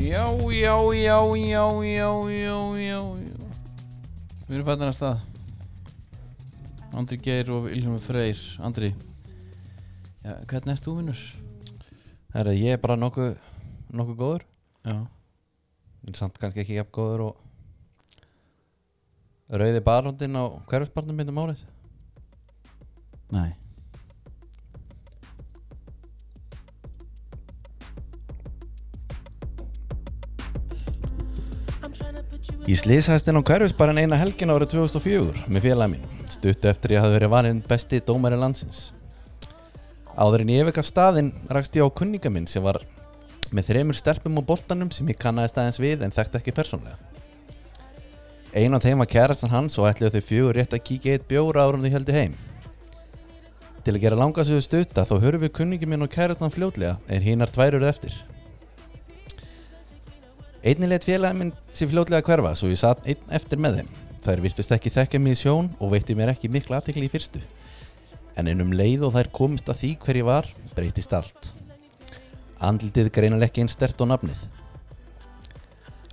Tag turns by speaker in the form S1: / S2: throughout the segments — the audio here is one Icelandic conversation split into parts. S1: já, já, já, já, já, já, já. Við erum fættan að stað. Andri Geir og Ilhjómi Freyr. Andri, já, hvernig ert þú vinnur?
S2: Herra, ég er bara nokkuð nokku góður
S1: Já.
S2: en samt kannski ekki jafn góður og rauði barhundin á hverfisbarnum minnum árið
S1: Nei.
S2: Ég slýsaðist inn á hverfisbarn eina helgin árið 2004 með félag mín stuttu eftir ég hafði verið varinn besti dómari landsins Áður en ég vekaf staðinn rakst ég á kunninga minn sem var með þremur stelpum á boltanum sem ég kannaðist aðeins við en þekkti ekki persónlega Ein af þeim var kærastan hans og ætluðu þau fjögur rétt að kíkja í eitt bjóra árum þau heldur heim Til að gera langasögu stutta þá hörum við kunningi minn og kærastan fljótlega en hinar tvær eru eftir. Einnig leitt félagin minn sem fljótlega hverfa svo ég satt einn eftir með þeim. Þær virtust ekki þekka mig í sjón og veitti mér ekki mikla aðtekli í fyrstu. En einum leið og þær komist að því hver ég var breytist allt. Andlitið greinileg ekki einn stert og nafnið.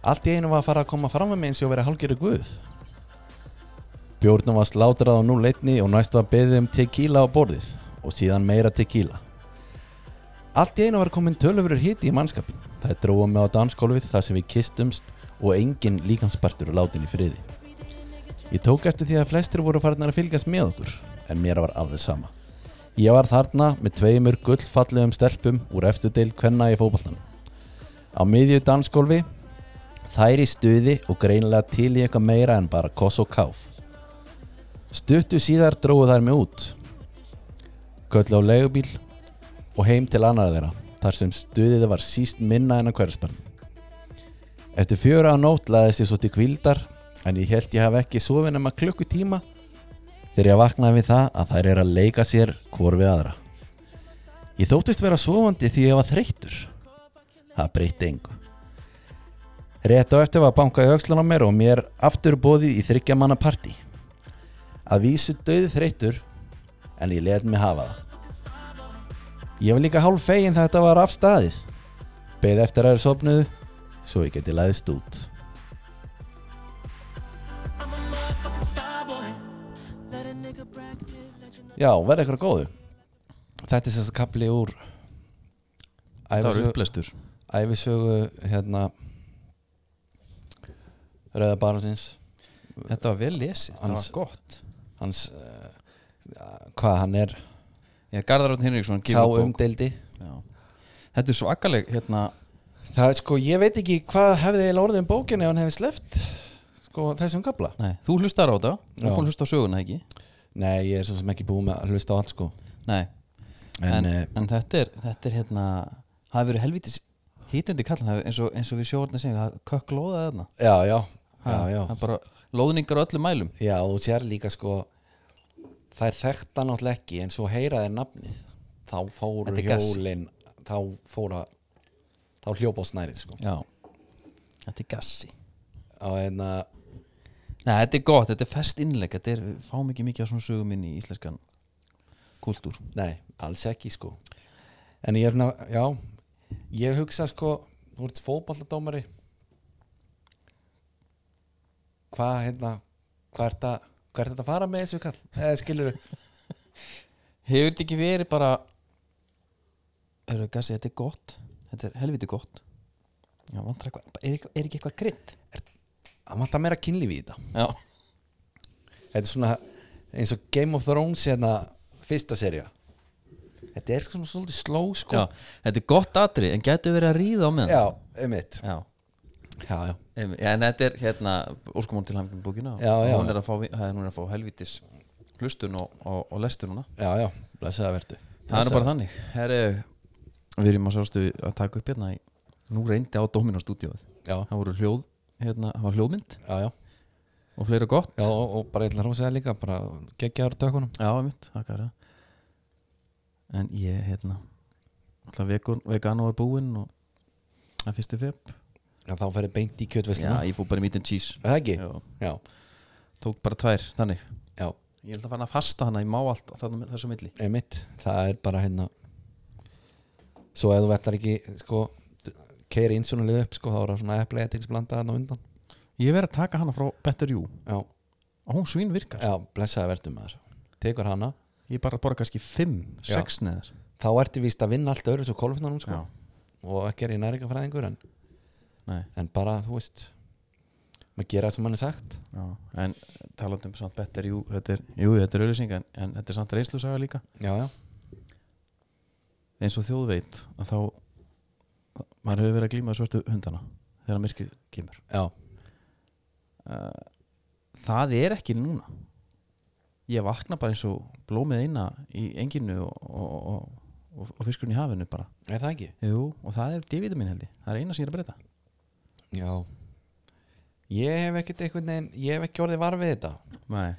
S2: Allt í einu var að fara að koma fram með mig eins og vera hálgjöru guð. Bjórnum var slátrað á núleitni og næst var beðið um tequila á borðið og síðan meira tequila. Allt í einu var komin tölöfurur hiti í mannskapin. Það dróða mig á dansgólfið þar sem við kistumst og engin líkanspartur látin í friði. Ég tók eftir því að flestir voru farnar að fylgjast með okkur, en mér var alveg sama. Ég var þarna með tveimur gullfallegum stelpum úr eftirdeild kvenna í fótbollanum. Á miðju dansgólfi, þær í stuði og greinilega til í eitthvað meira en bara koss og káf. Stuttu síðar dróðu þær mig út Köll á leigubíl og heim til annar þeirra þar sem stuðið var síst minna en að hverfspann Eftir fjöra á nótt laðist ég svo til kvildar en ég held ég hafi ekki sofið nema klukkutíma þegar ég vaknaði við það að þær eru að leika sér hvor við aðra Ég þóttist vera sofandi því ég var þreyttur Það breytti engu Rétt á eftir var bankað í öxlan á mér og mér aftur bóðið í þryggja manna partí að vísu döðu þreyttur en ég let mig hafa það ég var líka hálf fegin þegar þetta var afstæðið beð eftir að það er sopnuðu svo ég geti læðist út já, verði ykkur að góðu þetta er þess að kapli úr
S1: Það var
S2: ævisögu-
S1: upplestur.
S2: ævisögu hérna Rauða Barnsins
S3: Þetta var vel lesið, það var
S2: Hans-
S3: gott
S2: hans uh, hvað hann er
S1: Ég, Garðar Rátt Hinriksson,
S2: sá
S1: gefur út bók.
S2: umdeildi
S1: Já. Þetta er svakaleg, hérna,
S2: það er sko, ég veit ekki hvað hefði eiginlega orðið um bókinu ef hann hefði sleppt sko þessum gabla
S1: nei, þú hlustar á þetta, þú er
S2: Já.
S1: búin að hlusta á söguna, ekki?
S2: nei, ég er svo sem ekki búið með að hlusta á allt sko
S1: Nei, en,
S2: en, eh,
S1: en,
S2: en
S1: þetta, er, þetta er hérna, það hefur verið helvitis hýtundi kallan, það hefur- eins og, eins og við sjóðurna segjum, það kökk lóðað þarna.
S2: já, já, já,
S1: Það-
S2: já
S1: Það er bara lóðningar á öllum mælum.
S2: já, og þú sér líka sko það er þekta náttúrulega ekki en svo heyra þeir nafnið þá fóru
S1: Þetta er gas.
S2: hjólin þá fóra þá hljópa á snærið sko
S1: Já, þetta er gassi.
S2: á hérna, einna,
S1: Nei, þetta er gott, þetta er fest innleg, þetta er, við fáum ekki mikið á svona sögum inn í íslenskan kultúr.
S2: nei, alls ekki sko en ég er svona, já ég hugsa sko, þú ert fótballadómari hvað hérna hvað er þetta hvað er þetta að fara með þessu kall eða skilur
S1: Hefur þetta ekki verið bara Eru gassi, þetta er gott Þetta er helviti gott Já, vantar eitthvað, er, ekki- er ekki eitthvað krydd?
S2: að maður það meira kynlífi í þetta
S1: Já,
S2: þetta er svona eins og Game of Thrones hérna fyrsta serja þetta er svona svolítið sló
S1: já,
S2: sko
S1: þetta er gott atri En getur verið að ríða á meðan
S2: já einmitt
S1: já.
S2: já, já,
S1: einmitt. Já, en þetta er hérna Óskumón til hæmkjum bókina
S2: Já, já.
S1: Hún er að fá, hæ, hún er að fá helvitis hlustun og, og, og lestur núna
S2: já, já, blessaða verðu
S1: Það er nú bara þannig Herri, við erum að sjálfstu að taka upp hérna í, Nú reyndi á Dóminu stúdíóið
S2: já,
S1: Það voru hljóð, hérna, það var hljóðmynd
S2: já, já,
S1: Og fleira gott
S2: já og, og bara eitthvað hrósaði líka bara geggjaður tökunum
S1: Já, mitt, þakkar það En ég, hérna Alltaf vegan, vegano er búinn og það er fyrsti feb
S2: Já, þá ferði beint í
S1: Já,
S2: kjötvesluna
S1: ég fór bara í meat and cheese
S2: Er Það ekki?
S1: Já,
S2: Já,
S1: Tók bara tvær, þannig
S2: já,
S1: Ég held að fara að fasta hana, ég má allt þarna, þessu milli
S2: einmitt Það er bara hérna Svo ef þú vettar ekki, sko keiri insjónulegð upp sko, þá var það svona Apple Ethics blanda hann á undan
S1: Ég verið að taka hana frá Better You
S2: já,
S1: og hún svín virkar
S2: já blessaði verðum maður tekur hana,
S1: Ég bara borga kannski 5,
S2: Já.
S1: 6 neður
S2: þá ertu víst að vinna allt öðru svo kólfnanum sko,
S1: Já,
S2: og ekki er ég næringafræðingur en,
S1: nei
S2: en bara, þú veist maður gera það sem hann er sagt
S1: já. En talandum samt Better You þetta er, Jú, þetta er auðlýsing en, en þetta er samt reislusaga líka
S2: já, já,
S1: eins og þjóð veit að þá maður hefur verið að glíma við svörtu hundana þegar myrkrið kemur
S2: já,
S1: uh, það er ekki núna ég vakna bara eins og blómið eina í enginu og, og, og, og, og fiskurinn í hafinu bara
S2: er það ekki?
S1: Jú, og það er divita mín held ég það er eina sem ég er að breyta
S2: já ég hef ekkert einhvern veginn ég hef ekki orðið varfið þetta
S1: Nei.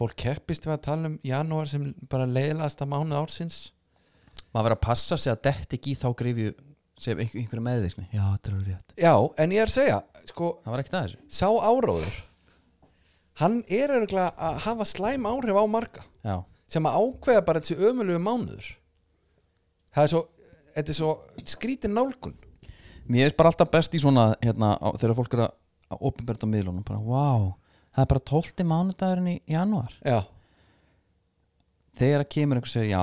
S2: fólk keppist við að tala um janúar sem bara leiðlasta mánuð ársins
S1: maður verið að passa sig að detti ekki í þá grifju sem einhver, einhverju meðvirkni já, þetta er alveg rétt
S2: já, en ég er að segja, sko,
S1: það var ekkert að þessu
S2: sá áróður hann er örgulega að hafa slæm áhrif á marga
S1: já,
S2: sem að ákveða bara þessi ömulegu mánuður það er svo þetta er svo skrítin nálgun
S1: mér er bara alltaf best í svona hérna, á, þegar fólk er að, að opinberta á miðlunum bara, wow, það er bara 12. mánudagurinn í januar
S2: já,
S1: þegar að kemur einhver sér já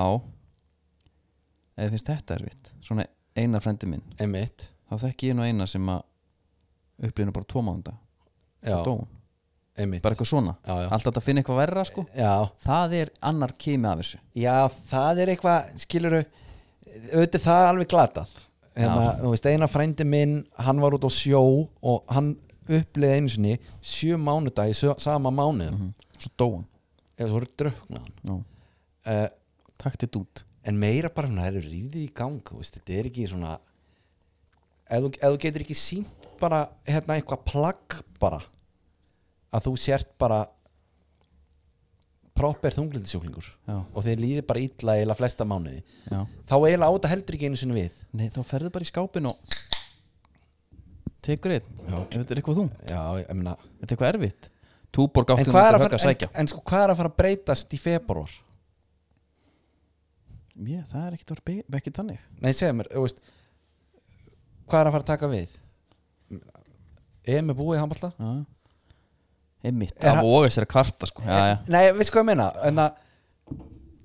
S1: eða finnst þetta erfitt svona einar frendi minn
S2: emitt
S1: þá þekki ég nú eina sem að upplýðinu bara tvo mánuda
S2: já,
S1: og dó hún.
S2: emitt
S1: bara eitthvað svona
S2: já, já.
S1: alltaf þetta finna eitthvað verra sko
S2: já,
S1: það er annar kimi af þessu
S2: já, það er eitthvað skiluru, auðvitað það er alveg glatað hérna, þú veist, eina frændi minn hann var út á sjó og hann upplýði einu sinni sjö mánudagi sjö, sama
S1: Mhm.
S2: mánuðum mm -hmm.
S1: svo dó hann
S2: eða svo voru dröknan
S1: Nú,
S2: uh,
S1: takk til dút
S2: en meira bara svona, það eru rífið í gang þú veist, þetta er ekki svona ef þú, ef þú getur ekki sínt bara hérna eitthvað plagg bara að þú sért bara proper þunglindisjúklingur
S1: já,
S2: og þeir líði bara illa eila flesta mánuði
S1: já.
S2: þá eiginlega á þetta heldur ekki einu sinni við
S1: Nei, þá ferðu bara í skápin og tekur einn ef þetta er eitthvað þungt,
S2: já, ég meina
S1: ef þetta er eitthvað erfitt túborg
S2: en
S1: áttum
S2: hvað,
S1: þetta
S2: er að
S1: högg að
S2: fara, en,
S1: sækja
S2: en sko, hvað er að fara að breytast í februar?
S1: Ég, það er ekkert að vera be- ekki þannig
S2: nei, segðu mér, þú veist hvað er að fara að taka við? EM er búið í handballa?
S1: Já. einmitt,
S2: Er
S1: það
S2: hann-
S1: voga sér að kvarta sko. já, já.
S2: Nei, við sko að meina en að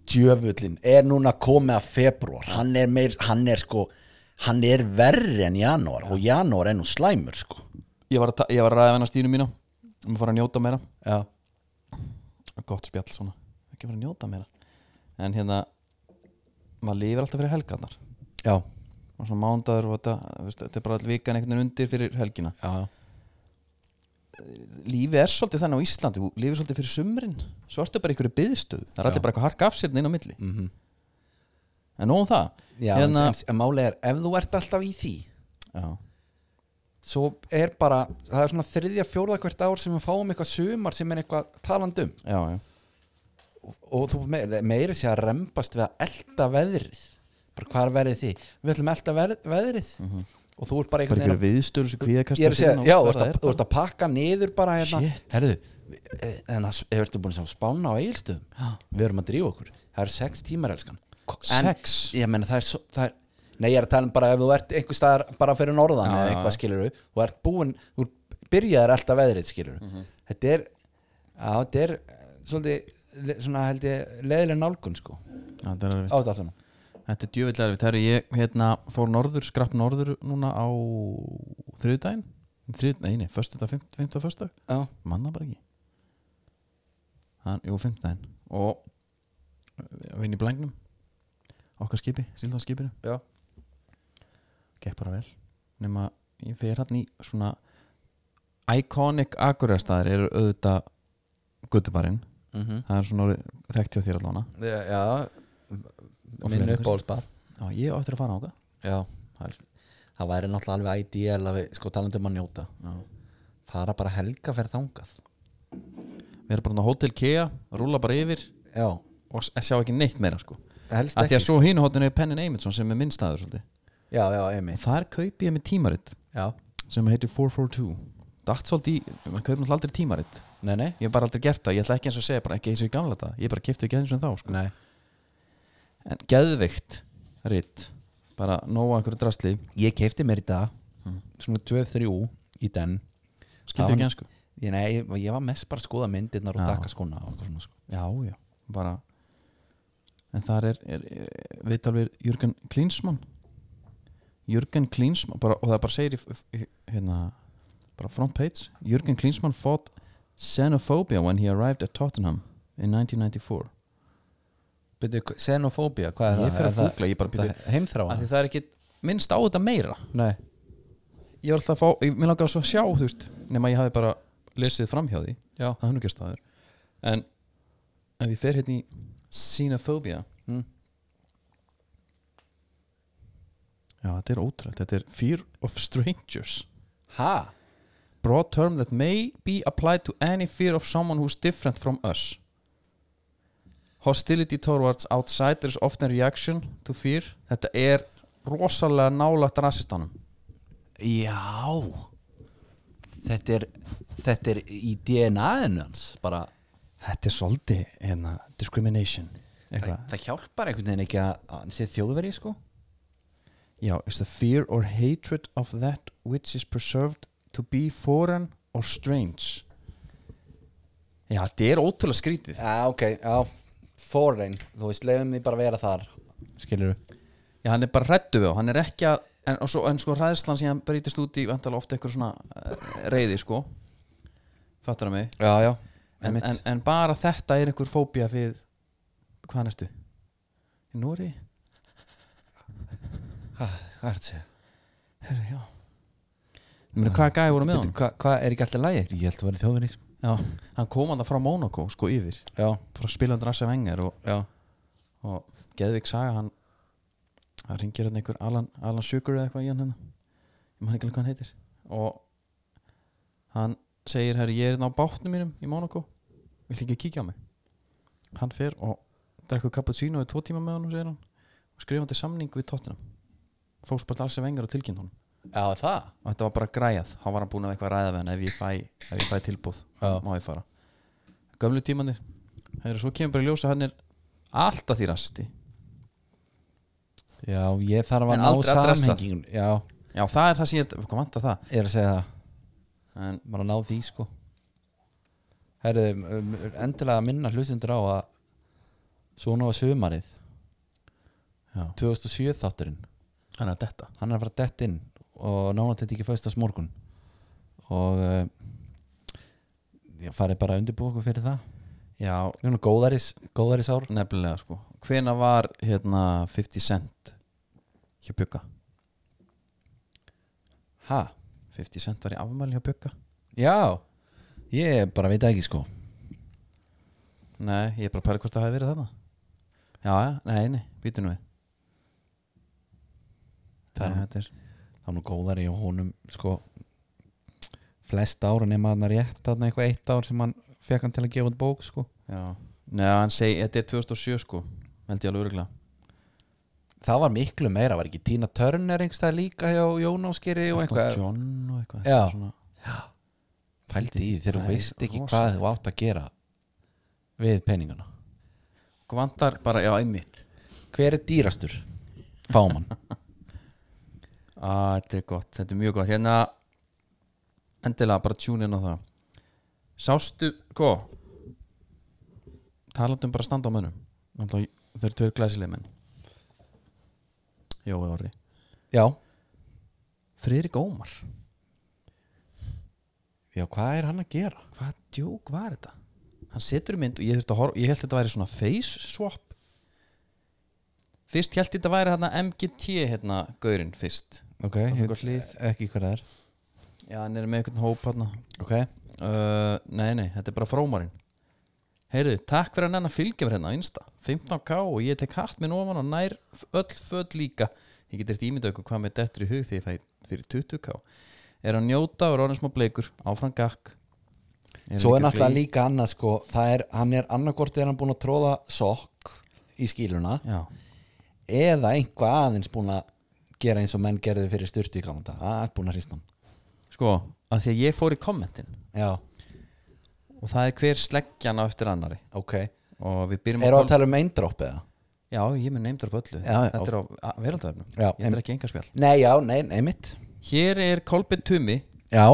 S2: djöfullin er núna komið að februar hann er meir, hann er sko hann er verri en janúar og janúar er nú slæmur sko
S1: Ég, var að ta- ég var að ræða hennar stínu mína um að fara að njóta meira
S2: já,
S1: gott spjall svona, ekki fara að njóta meira en hérna maður lifir alltaf fyrir helgarnar
S2: já,
S1: og svona mándagur og þetta, veist, þetta er bara all vikan einhvern veginn undir fyrir helgina
S2: já,
S1: lífið er svolítið þannig á Íslandi þú lifir svolítið fyrir sumrin, svo ertu bara í einhverju byðstöð það er allir bara eitthvað harka af sér inn á milli
S2: mm
S1: en nóg um það
S2: já
S1: Hérna-
S2: en, en máli er ef þú ert alltaf í því
S1: já,
S2: svo er bara, það er svona þriðja fjórða hvert ár sem við fáum eitthvað sumar sem er eitthvað talandum
S1: já, já,
S2: og, og þú me- meiri sé að rembast við að elda veðrið bara hvað er verið því? Við ætlum að elda verð- veðrið og þú ert bara
S1: bara
S2: einhvern
S1: einhverju byðstöð þessu kvíðakast
S2: ég er að segja, já, þú ert að- þú ert að pakka niður bara hérna,
S1: Shit.
S2: herðu eh, en það hefur þetta búin sem spána á eigilstöðum við erum að drífa okkur, það eru sex tímar elskan, En-
S1: sex
S2: ég meina það er, svo, það er nei, ég er að tala um bara ef þú ert einhver staðar bara fyrir norðan
S1: Já,
S2: eða
S1: já,
S2: eitthvað
S1: já.
S2: skilur þú ert búin, þú byrjaðir alltaf veðrið skilur þetta er já, þetta er eh, svolítið le- svona held ég, leðileg nálgun sko á
S1: Já, þetta er alveg
S2: þetta saman
S1: Þetta er djöfill erfitt Herru, ég hérna, fór norður, skrapp norður núna á þriðdæn Þrið, Nei, nei, föstudag, fimmt- fimmta föstudag
S2: já,
S1: Manna bara ekki Hann, Jú, fimmtudaginn Og eh, vinn í blængnum Okkar skipi, síldanskipinu
S2: já,
S1: Gekk bara vel Nefna, ég fer hann í svona Iconic akurjastaðir eru auðvitað Guttubarinn
S2: mm -hmm.
S1: Það er svona orðið þekkt hjá þér allána
S2: já, já
S1: Og fleiri.
S2: uppáhaldsbar
S1: Já, ég á eftir að fara á það
S2: Já, það, er- það væri náttúrulega alveg ideal að við, sko talandi um að njóta
S1: Já
S2: fara bara helga fyrir þangað
S1: Við erum bara hérna á Hotel Kea, rúla bara yfir
S2: Já,
S1: og s- sjá ekki neitt meira sko
S2: helst
S1: að því
S2: ekki
S1: að svo hínu hóttinu er Pennin Eymundsson sem er minnstaður svolítið
S2: Já, já, einmitt
S1: og þar kaupi ég með tímaritt
S2: Já,
S1: sem heitir 442 dætt svolítið, í- maður kaupir náttúrulega aldrei tímaritt
S2: nei, nei,
S1: ég hef bara aldrei gert það, ég ætla ekki eins og að segja bara ekki eins og í gamla þetta, ég bara kipti ekki eins og þá sko.
S2: nei.
S1: en geðveikt ritt bara nóa einhverju drastli
S2: Ég keipti mér í dag
S1: Mm.
S2: svona 2-3 í den
S1: skildur ekki ennsku
S2: ég, nei, ég- ég var mest bara að skoða myndirnar og
S1: Já.
S2: taka skona og eitthvað svona sko.
S1: já, já, bara en þar er, er, er viðtal við Jürgen Klinsmann Jürgen Klinsmann bara, og það bara segir í, f- í- hérna, bara front page Jürgen Klinsmann fought xenophobia when he arrived at Tottenham in 1994
S2: Byrju, hva- xenophobia, hvað er
S1: ég fer
S2: það?
S1: að googla, ég bara byrja
S2: það heimþráa
S1: að því það er ekki minnst á þetta meira
S2: nei,
S1: ég var alltaf að fá, ég minn langaði svo að sjá þú veist, nema ég hafi bara lesið framhjá því
S2: já,
S1: það hann ekki að staður en ef ég fer hérna í xenophobia
S2: Mm.
S1: já, þetta er ótrætt þetta er fear of strangers
S2: ha?
S1: broad term that may be applied to any fear of someone who's different from us hostility towards outsiders often reaction to fear þetta er rosalega nálagt rasistanum
S2: já þetta er þetta er í DNA-inu hans bara,
S1: þetta er svolítið hérna, discrimination
S2: það,
S1: Eitthvað.
S2: það hjálpar einhvern veginn ekki að að hann sé þjóðveri sko
S1: Já, is the fear or hatred of that which is preserved to be foreign or strange Já, þetta er ótrúlega skrítið
S2: já, ok, já, foreign þú veist, leiðum því bara að vera þar skilur þú?
S1: Já, hann er bara hrættu við og hann er ekki að en, og svo, en sko hræðslan sem hann breytist út í vantala ofta eitthvað svona eh, reyði sko Fattar það mig
S2: já, já,
S1: en, en, en bara þetta er einhver fóbía fyrir hvaðan ertu? Í Nóri?
S2: hvað hva er þetta að segja?
S1: Herri, já Meni, Hvaða gæði voru með
S2: Bíddu,
S1: honum?
S2: Hvað hva er ekki alltaf lægi? Ég held að vera þjóðveri sko.
S1: Já, hann kom hann frá Monaco sko yfir
S2: Já,
S1: frá spilandi rasa vengar og
S2: já
S1: og Geðvik saga hann það ringir hann hérna einhver Alan, Alan Sugar eða eitthvað í hann hérna ég maður ekki alveg hvað hann heitir og hann segir herri ég er hérna á bátnum mínum í Monaco vill ekki kíkja á mig hann fer og drekkur cappuccino í tvo tíma með hann segir hann og skrifandi samning við tóttina fóks bara alls sem vengar og tilkynnt honum
S2: Já, það?
S1: og þetta var bara græjað þá var hann búin að eitthvað að ræða við hann ef ég fæ, ef ég fæ tilbúð
S2: Já.
S1: má ég fara gömlu tímanir Heru, svo kemur bara í ljós að hann er alltaf því rasti
S2: Já, ég þarf að
S1: En
S2: ná
S1: aldrei að dressa.
S2: samhengingun Já,
S1: Já, það er það sem ég er, hvað vantar það
S2: ég er að segja það
S1: en,
S2: Bara ná því sko Herðu, um, endilega að minna hlustundur á að Svona var sumarið
S1: já,
S2: 2007 þátturinn
S1: hann er að detta
S2: Hann er að fara dett inn Og nánátt þetta ekki föstast morgun Og uh, Ég farið bara að undirbúa okkur fyrir það
S1: Já,
S2: Núna góðaris, góðaris ár
S1: nefnilega sko Hvena var hérna 50 cent hjá Bjögga?
S2: Ha?
S1: 50 cent var í afmæli hjá Bjögga?
S2: Já, ég bara veit það ekki sko
S1: Nei, ég er bara að pæla hvort það hafi verið þarna Já, já, nei, nei, býtu nú við
S2: Það er-
S1: Nei, þetta er
S2: það var nú góðari og honum sko flest ára nema hann rétt þarna eitthvað eitt ár sem hann fekk hann til að gefa út bók sko
S1: Já, nei, hann segi, þetta er 2007 sko held ég alveg öruglega
S2: það var miklu meira, var ekki Tina Turner einhverstað líka hjá Jón Áskeri og
S1: Elton
S2: eitthvað,
S1: John og eitthvað
S2: Já.
S1: þetta er svona,
S2: pældi í því þegar
S1: Það
S2: þú
S1: er
S2: veist ekki
S1: rosalegt.
S2: hvað þú átt að gera við peningana
S1: Hvað vantar bara, já, einmitt
S2: hver er dýrastur? Fáman
S1: Ah, þetta er gott, þetta er mjög gott Hérna endilega bara tune inn á það Sástu, sko Talandum bara að standa á mönnum Náttúrulega, Þeir eru tveir glæsileg menn Jói Orri
S2: já,
S1: Friðrik Ómar
S2: já hvað er hann að gera?
S1: Hvað djók var þetta? Hann setur í mynd og ég þurfti að horfa Ég held þetta væri svona face swap Fyrst held þetta væri hérna MGT hérna Gaurinn fyrst Það
S2: ok,
S1: er
S2: ég-
S1: svona eitthvað hlið.
S2: ekki hvað það er
S1: Já, hann er með einhvern hóp hérna
S2: ok,
S1: Uh, nei, nei, þetta er bara frómarinn Heyrðu, takk fyrir að nenn að fylgja mér hérna á Insta 15k og ég tek hatt minn ofan og nær f- öll föt líka Ég get eftir ímyndað ykkur hvað með dettur í hug þegar ég fæ fyrir 20k Er að njóta og er orðin smá bleikur áfram gakk Er
S2: svo er
S1: líka
S2: náttúrulega
S1: glý-
S2: líka annað sko það er, hann er annarkort er hann búin að tróða sokk í skíluna
S1: Já,
S2: eða einhvað aðeins búin að gera eins og menn gerðu fyrir styrtu í gamla dag það er búin að hrista hann
S1: sko, að því að ég fór í kommentin
S2: já,
S1: og það er hver sleggjan á eftir annari
S2: ok erum
S1: og við byrjum
S2: við
S1: á
S2: að tala um eindróp eða?
S1: Já, ég mun neymdur upp öllu
S2: Já, já.
S1: Þetta er á veraldöfnum
S2: Já,
S1: Ég er ekki enga spjall
S2: nei, já, nei, nei mitt
S1: Hér er Kolbin Tumi
S2: Já,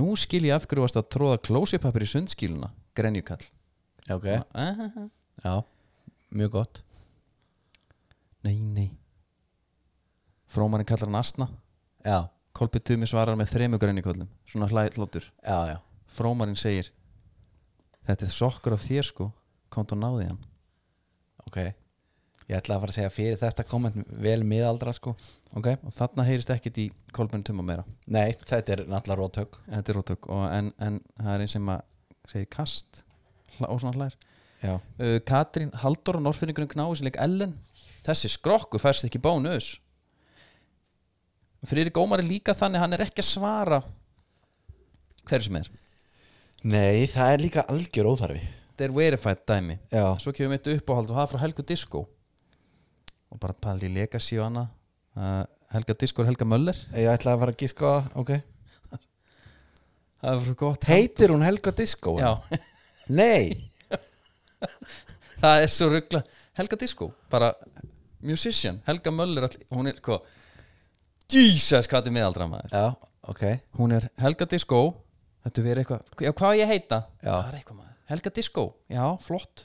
S1: Nú skil ég af hverju varst að tróða klósipapir í sundskíluna Grenjukall Ah,
S2: ok
S1: okay.
S2: Já, mjög gott
S1: Nei, nei Frómarinn kallar hann Asna
S2: Já,
S1: Kolbin Tumi svarar með þremur grenjuköllum Svona hlætlótur
S2: já, já
S1: Frómarinn segir Þetta er sokkur af þér sko Komt og náði hann
S2: Ok Ég ætla að fara að segja fyrir þetta komment vel miðaldra sko Ok
S1: Og þarna heyrist ekkit í Kolbin Tuma meira
S2: Nei, þetta er náttúrulega rótök
S1: Þetta er róttök og en, en það er einn sem að segir kast hla- og svona hlær
S2: Já
S1: uh, Katrín Halldór og Norfinningurinn Knái sem leik Ellen þessi skrokku færst ekki bónus Friðrik Ómar er líka þannig hann er ekki að svara hverju sem er
S2: Nei, það er líka algjör óþarfi
S1: þetta er verified dæmi
S2: Já
S1: svo kemur mitt uppáhald og það er frá Helga Disco og bara pæli í legacy og annað uh, Helga Disco er Helga Möller
S2: Ég ætla að fara að gíska Ok
S1: það er frá gott
S2: Heitir hún Helga Disco?
S1: Já,
S2: Nei
S1: það er svo ruggla Helga Disco, bara musician Helga Möller, all- hún er hvað Jesus, hvað þetta er meðaldra maður
S2: Já, ok
S1: hún er Helga Disco þetta verið eitthvað, já hvað á ég að heita
S2: Já.
S1: það er eitthvað maður, Helga Disco, já flott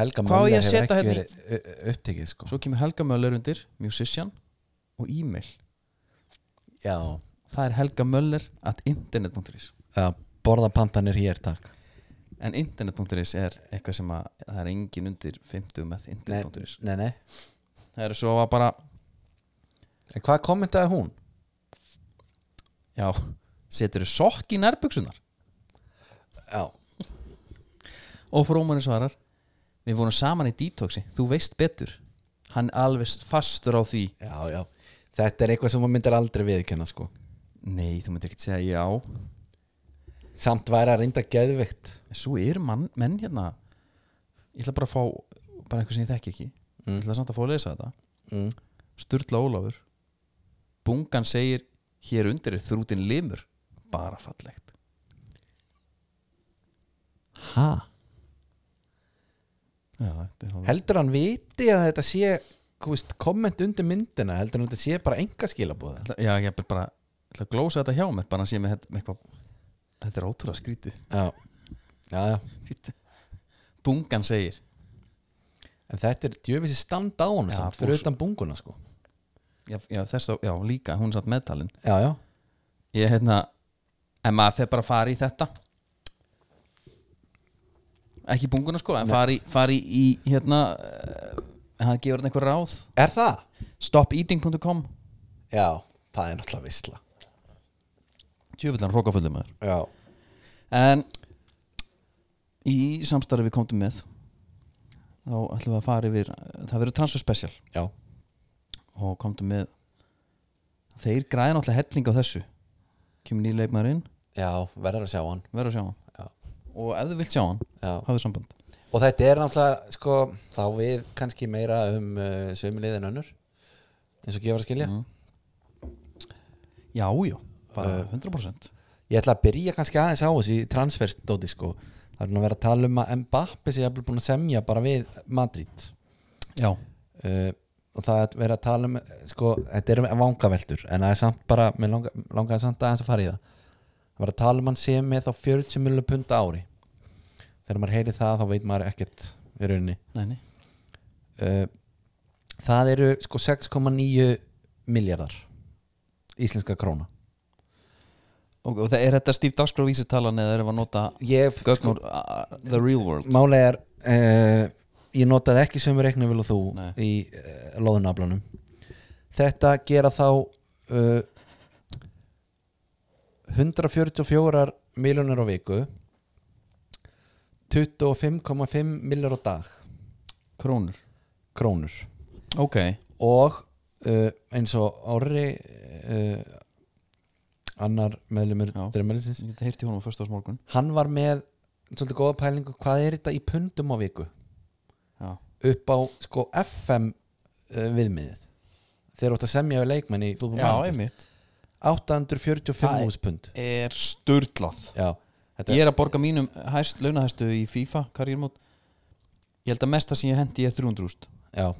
S2: Helga
S1: Hvað á
S2: Möller
S1: ég að
S2: hefur
S1: setja
S2: ekki
S1: hérna í?
S2: verið u- u- upptekið sko
S1: svo kemur Helga Möller undir, musician og e-mail,
S2: Já
S1: það er helga möller at internet.is
S2: Já, borða pantanir hér takk
S1: en internet.is er eitthvað sem að það er engin undir 50 með internet.is
S2: nei, nei
S1: það eru svo að bara,
S2: En hvað kommentaði hún?
S1: já setur þau sokk í nærbuksunar
S2: Já
S1: og frómarinn svarar við vorum saman í detoxi, þú veist betur hann er alveg fastur á því
S2: Já, já Þetta er eitthvað sem hún myndir aldrei viðkenna sko
S1: nei, þú myndir ekki segja já
S2: Samt væri að reynda geðvikt
S1: En svo eru mann, menn hérna Ég ætla bara að fá bara eitthvað sem ég þekki ekki Ég
S2: Mhm.
S1: ætla samt að fá að lesa þetta
S2: mm.
S1: Sturla Ólafur Bungan segir Hér undir er þrútin limur Bara fallegt
S2: Ha?
S1: Já, þetta er hálf-
S2: Heldur hann viti að þetta sé þú veist, komment undir myndina heldur hann að þetta sé bara enga skilabóða
S1: Ætla- Já, ég ætla bara ég ætla að glósa þetta hjá mér Bara að sé með þetta- með eitthvað Þetta er ótrúlega skrítið
S2: Já, já, já
S1: Fínt. Bungan segir
S2: En þetta er djöfissi stand á hann
S1: Já,
S2: samt,
S1: fús.
S2: fyrir utan bunguna sko
S1: Já, já, þess, þá- já líka, hún er satt meðtalin
S2: Já, já,
S1: Ég hérna En maður fer bara að fara í þetta Ekki bunguna sko En fari, fari í hérna uh, Hann gefur hann einhver ráð
S2: er það?
S1: Stopeating.com
S2: Já, það er náttúrulega visla
S1: Tjöfullan hrókafullum maður
S2: Já,
S1: En Í samstarfi við komdum með Þá ætlum við að fara yfir Það verður transfer special
S2: já,
S1: Og komdum með Þeir græða náttúrulega helling á þessu Kemur nýr leikmaður inn
S2: já, verður að sjá hann
S1: Verður að sjá hann
S2: Já.
S1: Og ef þú vilt sjá hann
S2: Já
S1: Hafðu samband
S2: Og þetta er náttúrulega, sko, þá við kannski meira um uh, sömulegðin önnur eins og gefur að skilja
S1: Já, já, bara 100%
S2: Ég ætla að byrja kannski aðeins á þessu í transferstóti sko Það er nú að vera að tala um að Mbappe sé jafnvel búin að semja bara við Madrid
S1: Já,
S2: uh, og það er verið að tala um eh, sko, þetta er vangaveltur en það er samt bara, mér langa, langaði samt aðeins að fara í það það var að tala um hann sé með þá 40 miljonar punda á ári þegar maður heyri það þá veit maður ekkert í rauninni
S1: nei, nei
S2: uh, það eru sko 6,9 miljardar íslenska króna
S1: Og, og það er þetta Steve Dagskrá vísitalan eða erum við að nota
S2: ég
S1: gögn úr uh, The Real World
S2: Málið er uh, ég notaði ekki sömu reiknum vil og þú
S1: Nei.
S2: í uh, loðunaflanum þetta gera þá uh, 144 miljónir á viku 25,5 miljónir á dag
S1: Krónur
S2: krónur
S1: Ok,
S2: og uh, eins og orri uh, annar meðlumur
S1: Já.
S2: drömmelinsins
S1: ég geti heyrt í honum á fyrsta ás morgun
S2: hann var með svolítið góða pælingu hvað er þetta í pundum á viku
S1: Já,
S2: upp á sko FM uh, viðmiðið þeir átt að semja við leikmenn í Football
S1: Já
S2: Manager.
S1: einmitt
S2: 845
S1: Það er-
S2: hús pund
S1: Er sturglað
S2: já, þetta
S1: Ég er að borga mínum hæst, launahæstu í FIFA karriérmót Ég held að mesta sem ég hendi ég er 300 úst
S2: já,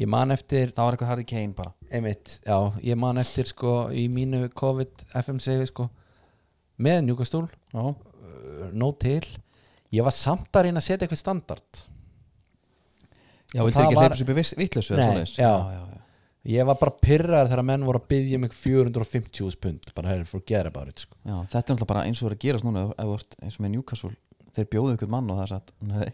S2: ég man eftir
S1: það var eitthvað Harry Kane bara
S2: einmitt, já, ég man eftir sko í mínu COVID FMC sko, með njúkastúl
S1: já,
S2: eh, nóg til ég var samt að reyna að setja eitthvað standard
S1: já
S2: Og
S1: vildi
S2: það
S1: ekki
S2: var-
S1: hleypa sér upp í vittlösu
S2: Nei, já.
S1: já, já, já.
S2: ég var bara pyrraður þegar menn voru að um byggja mig 450 pund, bara hey, forget about it sko.
S1: Já, þetta er náttúrulega bara eins og er að gerast núna ef, ef þú ert eins og með Newcastle þeir bjóðu ykkur mann og það er satt nei,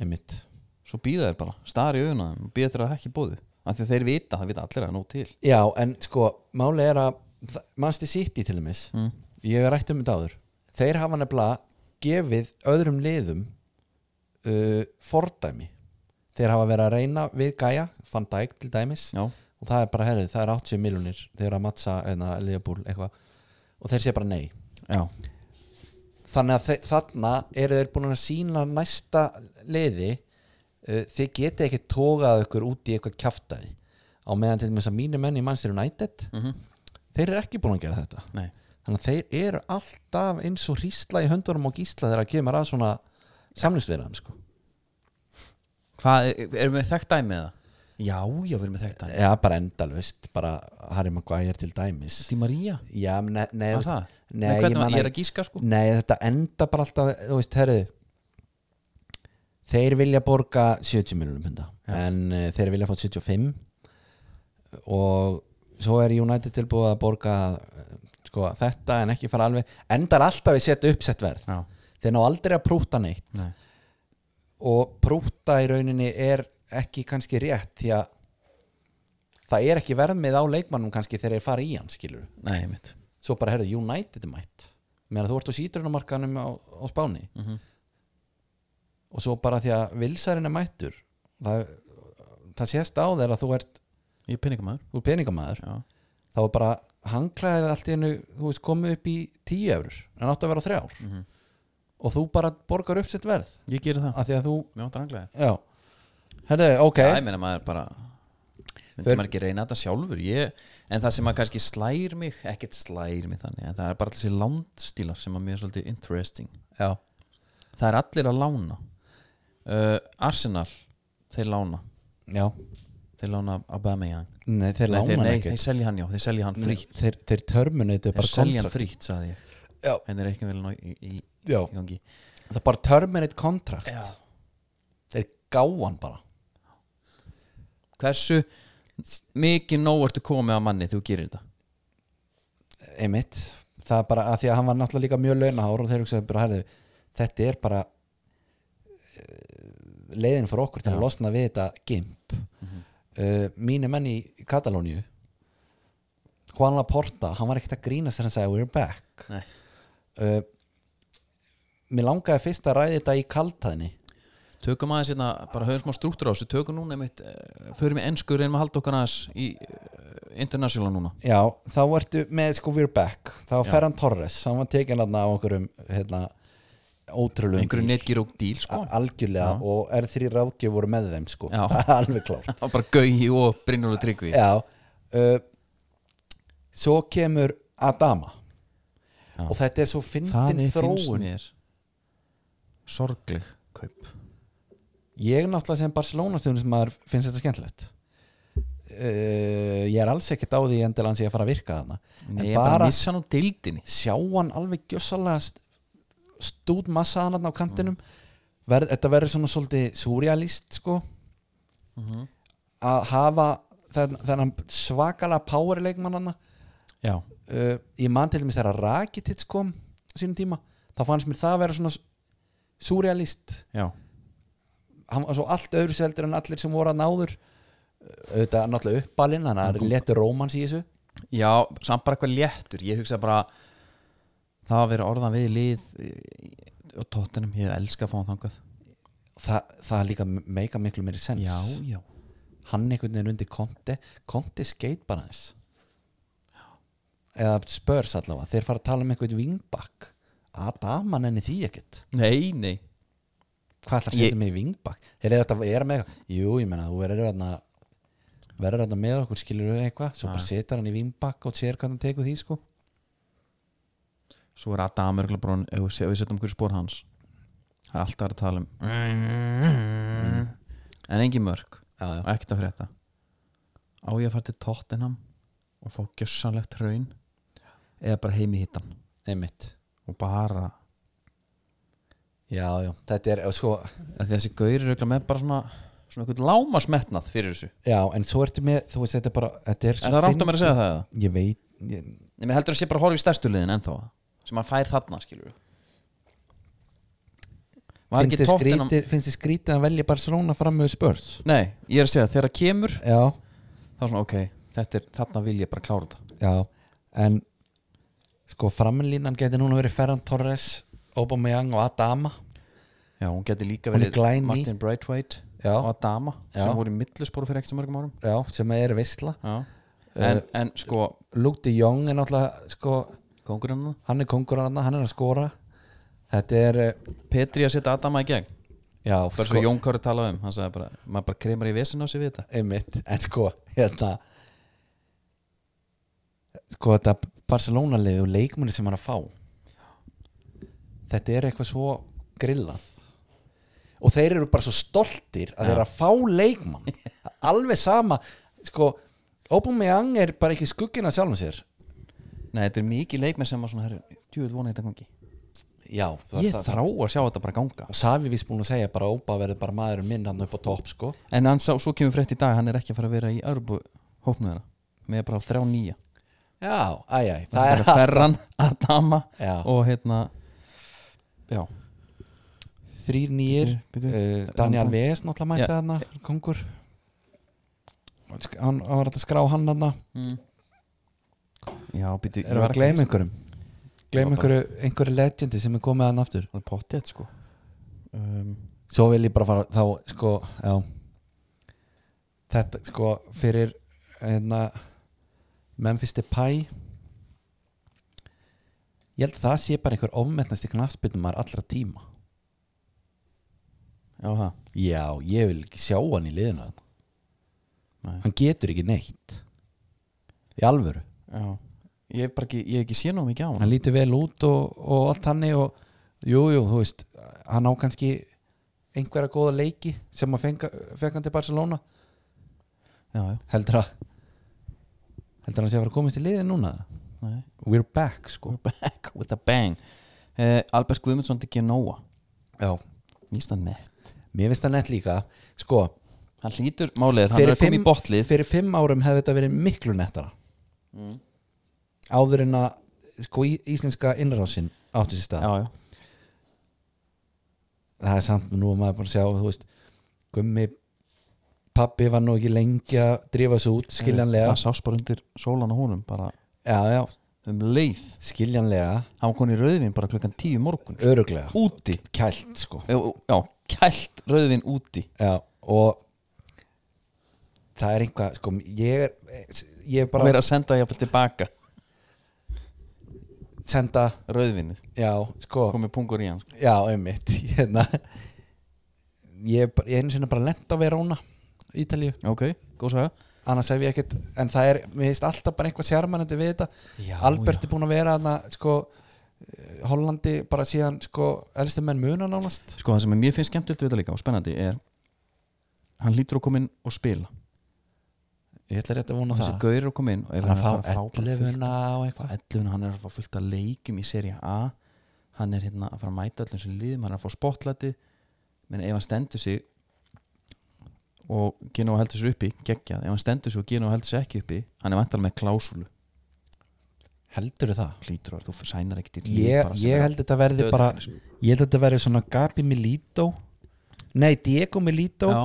S2: einmitt
S1: svo býða þeir bara, stari í auðuna og býða þeir að það ekki bóðu af því að þeir vita, það vita allir að nóg til
S2: já, en sko, máli er að þa- Manchester City til dæmis
S1: mm.
S2: ég hef rætt um þetta áður þeir hafa nefnilega gefið öðrum liðum uh, fordæmi þeir hafa verið að reyna við Gaia Van Dijk til dæmis
S1: Já,
S2: og það er bara, herrið, það er 80 miljonir þeir eru að mattsa eða Leopold eitthvað og þeir sé bara nei
S1: já,
S2: þannig að þe- þarna eru þeir búin að sína næsta liði uh, þið geti ekki tógað ykkur út í eitthvað kjaftaði á meðan til þess að mínu menn í Manchester United
S1: mm
S2: þeir eru ekki búin að gera þetta
S1: nei
S2: þannig að þeir eru alltaf eins og hrísla í höndunum og gísla þegar að kemur að svona samlýstverðum sko.
S1: Hvað, er- erum við þekkt dæmi eða? Eh, Já, já, við erum við þekkt dæmi
S2: eða bara endalvist bara Harry Maguire til dæmis
S1: Di Maria,
S2: já, nei, nei,
S1: var
S2: veist,
S1: það?
S2: nei,
S1: Eh, Nei,
S2: ég
S1: hvernig,
S2: man
S1: ég, er
S2: ekki-
S1: að gíska sko
S2: Nei, þetta enda bara alltaf þú veist, herðu þeir vilja borga 70 miljonum punda en uh, þeir vilja fá 75 og svo er United tilbúið að borga eh, sko, þetta en ekki fara alveg endar alltaf að setja uppsett verð
S1: Já,
S2: þeir ná aldrei að prúta neitt
S1: nei,
S2: og prúta í rauninni er ekki kannski rétt því að það er ekki verðmið á leikmannum kannski þegar þeir fara í hann skilur
S1: nei, mitt
S2: svo bara herðu United er mætt meðan þú ert á sítrunumarkanum á, á Spáni
S1: mm
S2: og svo bara því að vilsarinn er mættur það, það sést á þér að þú ert
S1: Ég er peningamæður
S2: úr peningamæður
S1: Já,
S2: þá er bara hanglaðið allt í hennu þú veist komið upp í 10 eurur en átt að vera á þrjár
S1: Mhm.
S2: og þú bara borgar uppsett verð
S1: ég gerir það
S2: að því að þú,
S1: Mér vantar anglaði
S2: já herðu, ok,
S1: Já, ég meina maður bara myndi
S2: Hver-
S1: maður ekki reyna þetta sjálfur ég, en það sem maður kannski slær mig ekkert slær mig þannig, en það er bara alls í landstílar sem að mér er svolítið interesting
S2: já,
S1: það er allir að lána uh, Arsenal, þeir lána
S2: já
S1: þeir lána Aubameyang
S2: nei, þeir
S1: Nei,
S2: lána
S1: þeir,
S2: hann
S1: nei,
S2: ekki
S1: þeir selja hann já, þeir selja hann frítt
S2: þeir, þeir terminate
S1: þeir
S2: bara
S1: selja hann
S2: kontrakt.
S1: frítt, sagði ég
S2: Já.
S1: henni er ekki vel ná í, í,
S2: já,
S1: í gangi
S2: það er bara terminate contract
S1: Já.
S2: þeir gáan bara
S1: hversu mikið nóg ertu komið að manni þegar þú gerir þetta
S2: einmitt, það er bara að því að hann var náttúrulega líka mjög launahár og þeir hugsaðu bara herðu, þetta er bara eh, leiðin fyrir okkur til
S1: Já.
S2: að losna við þetta gimp mm
S1: Mhm.
S2: mínu menn í Katalóníu Juan Laporta hann var ekkert að grínast þegar hann sagði we're back
S1: Nei.
S2: uh, mér langaði fyrst að ræði þetta í kaltæðni
S1: Tökum aðeins hérna, bara höfum smá strúttur á þessu Tökum núna einmitt, uh, förum í ennsku reynum að halda okkar aðeins í uh, international núna
S2: Já, þá ertu með sko We're Back þá var
S1: Já.
S2: Ferran Torres, hann var tekin aðna á einhverjum hérna, ótrúlegum
S1: Einhverju
S2: bíl.
S1: netgir og díl sko
S2: A- algjörlega
S1: Já.
S2: og R3 ráðgjöf voru með þeim sko,
S1: Já.
S2: það er alveg klár
S1: Það var bara gauði og brinnur og tryggvi
S2: Já uh, Svo kemur Adama
S1: Já.
S2: og þetta er svo
S1: Það
S2: fyndin
S1: er finnst
S2: þróun
S1: mér Sorgleg kaup
S2: Ég náttúrulega sem Barcelona stjórnum sem maður finnst þetta skemmtilegt uh, Ég er alls ekkert á því endilega hans ég að fara að virka þarna
S1: Nei,
S2: En
S1: ég bara,
S2: bara-
S1: bara missa hann úr dildinni
S2: sjá hann alveg gjössalega st- stút massa hann þarna á kantinum
S1: Mm.
S2: Verð, þetta verður svona svolítið surrealist sko
S1: Mhm.
S2: að hafa þenn- þennan svakalega power leikmann hann
S1: Já,
S2: uh, ég man til dæmis þegar Rakitic kom á sínum tíma, þá fannst mér það að vera svona surrealist
S1: já,
S2: hann var svo allt öðru seldur en allir sem voru að náður Eh, auðvitað náttúrulega uppalinn hann er letur rómans í þessu
S1: já, samt bara eitthvað léttur Ég hugsa bara Það að vera orðan við í lið eh, og tóttinum, ég elska að fá hann þangað
S2: Þa, það er líka meika miklu meiri sens
S1: Já, já,
S2: hann einhvern veginn undir Conte Conte skeit bara hans eða spörs allavega þeir fara að tala um einhvern vingbakk Adama nenni því ekkert
S1: nei, nei
S2: hvað ætlar að
S1: Ég-
S2: setja mig í vingbakk þeir eru þetta er með eitthvað jú ég menna þú verður þarna verður þarna með okkur skilur þau eitthvað svo bara
S1: Já.
S2: setjar hann í vingbakk og sér hvað hann tekur því sko
S1: svo er Adam Örglabrón ef við ef við setjum okkur í spór Mm. hans það er alltaf að tala um en engin mörg
S2: já, já.
S1: og ekkert að frétta á ég að fara til Tottenham og fá gjössalegt raun eða bara heim í hittan
S2: einmitt
S1: og bara
S2: já, já, þetta er, sko,
S1: af því þessi gauri rögla með bara svona svona einhvern lámasmetnað fyrir þessu
S2: já, en svo ertu með þú veist, þetta er bara, þetta er
S1: en það rámt að mér að segja það eða?
S2: ég veit, ég,
S1: Nei, mér heldur að sé bara að horfa í stærstu liðin ennþá sem hann fær þarna, skilur Var ekki
S2: finnst þið
S1: Tottenham
S2: skrítið finnst þið skrítið að velja Barcelona fram með spörs
S1: Nei, ég er að segja, þegar það kemur
S2: já,
S1: þá er svona, ok, þetta er, þarna vil ég bara klára þetta
S2: já, en sko, framlínan getur núna verið Ferran Torres, Aubameyang og Adama
S1: Já, hún geti líka
S2: Hún er
S1: verið
S2: glæný.
S1: Martin Brightwhite
S2: já,
S1: og Adama
S2: Já.
S1: sem voru í millisporu fyrir ekki sem mörgum árum
S2: já, sem er veistla
S1: Já. En, en sko,
S2: Luke de Jong er náttúrulega sko,
S1: kongurinn hann
S2: hann er kongur hann, hann er að skora þetta er eh,
S1: Petri að setja Adama í gegn
S2: já, sko,
S1: Það er svo Jón Kári talaði um, hann sagði bara maður bara kremar í vesinu á sig við þetta
S2: einmitt, en sko hérna sko þetta Barcelona lið og leikmunni sem hann er að fá þetta er eitthvað svo grillað og þeir eru bara svo stoltir að þeir eru að fá leikmann alveg sama sko, Aubameyang er bara ekki skuggin af sjálfum sér
S1: Nei, þetta er mikið leikmenn sem var svona, herru, djúið vona þetta gangi
S2: já, það
S1: Ég
S2: er það
S1: þrá að sjá þetta bara ganga
S2: og Savi vist búin að segja bara Óba verður bara maðurinn minn hann upp á topp sko
S1: En hann sá, svo kemur frétt í dag, hann er ekki að fara að vera í Örbu hópnum þeirra, með bara þrjá nýja
S2: já, æjæ, það
S1: Það er
S2: er
S1: Ferran, Adama
S2: Já.
S1: og hérna Já,
S2: þrýr nýjir
S1: Bíddu,
S2: uh, Daniel
S1: Rambo.
S2: Vés náttúrulega mætti
S1: Já.
S2: þarna kongur Sk- hann hann var hægt að skrá hann þarna
S1: Mm. já, býtu
S2: Eh. erum við að gleyma einhverjum gleyma
S1: Já, bara-
S2: einhverju, einhverju legendi sem er komið hann aftur
S1: Það er pottið, sko um,
S2: svo vil ég bara fara þá sko já þetta sko fyrir hérna Memphis Depay ég held að það sé bara einhver ofmetnasti knafsbytnumar allra tíma
S1: Já, það
S2: já, ég vil ekki sjá hann í liðinu þarna.
S1: Nei.
S2: hann getur ekki neitt í alvöru
S1: Já, ég hef bara ekki, ég hef ekki sé nóg mikið á
S2: hann
S1: hann
S2: lítur vel út og, og allt hannig og jú, jú, þú veist hann á kannski einhverja góða leiki sem að fenga, fenga hann til Barcelona
S1: Já, já,
S2: heldur að heldur að hann sé að fara að komast í liðið núna
S1: nei
S2: we're back sko
S1: We're back with a bang uh, Albert Guðmundsson til Genoa
S2: já,
S1: Nýsta nett
S2: mér finnst það nett líka sko,
S1: Hann hlýtur málið, hann er að koma í botlið
S2: fyrir fimm árum hefði þetta verið miklu nettara
S1: Mm.
S2: áður en að sko í, íslenska innrásin átti sér stað
S1: Já, já,
S2: það er samt nú að maður bara sjá þú veist, gummi pappi var nú ekki lengi að drífa svo út skiljanlega
S1: Það sást bara undir sólan á honum bara
S2: já, já,
S1: um leið
S2: skiljanlega,
S1: Hann var konið í rauðvin bara klukkan tíu morgun
S2: öruglega
S1: Úti
S2: kælt sko
S1: Já, já, kælt rauðvin úti
S2: já, og það er einhvað sko, ég er ég er
S1: Bara
S2: bara
S1: verið að senda því að tilbaka
S2: senda,
S1: Rauðvinnið,
S2: já, sko
S1: komið pungur í hann sko.
S2: já, einmitt hérna. ég er bara- ég er einu sinni bara lent á Verona Ítalíu,
S1: Ok, góð saga
S2: annars hef ég ekkert en það er, mér finnst alltaf bara einhvað sérmanandi við þetta
S1: já,
S2: Albert er búin að vera hana, sko, eh, Hollandi bara síðan sko, elstu menn muna nánast
S1: Sko það sem mér finnst skemmtilegt við þetta líka og spennandi er Hann lítur að koma inn og spila
S2: ég ætla rétt að vona
S1: Þessi
S2: það
S1: gaur er að koma inn og ef er
S2: hann að
S1: að
S2: fá
S1: fara að fá bara fullt
S2: 11 og eitthvað
S1: fá 11 hann er að fá fullt að leikum í seri A hann er hérna að fara að mæta öllum sem liðum hann er að fá spotlæti menn ef hann stendur sig og Gino heldur sér uppi geggjað, ef hann stendur sig og Gino heldur sér ekki uppi hann er vantar með klásulu
S2: heldur það
S1: hlýtur að þú sænar ekkert í lið
S2: ég,
S1: bara sem
S2: ég
S1: er á
S2: held þetta verði
S1: dauðadæginu,
S2: bara
S1: sko.
S2: ég held þetta verði svona Gabi Milito nei Diego Milito
S1: já,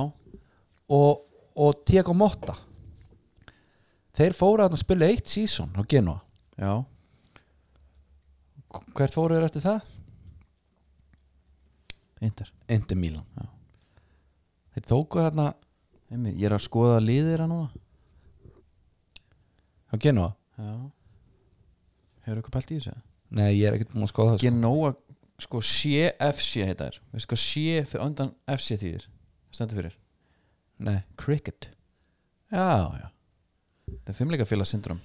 S2: og, og Diego Motta þeir fóru að spila eitt sísón á Genoa
S1: já,
S2: hvert fóru þeir eftir það?
S1: eindir
S2: Indi Milan
S1: Já.
S2: þeir tóku þarna
S1: Einmitt, ég er að skoða liðir að núna
S2: á Genoa
S1: já hefur eitthvað pælt í þessu?
S2: nei ég er ekkert búin að skoða það sko.
S1: Genoa, sko CFC heita þær, veistu hvað C fyrir undan FC þýðir, stendur fyrir
S2: nei
S1: cricket
S2: já já
S1: Það er fimmleikafélagssyndrom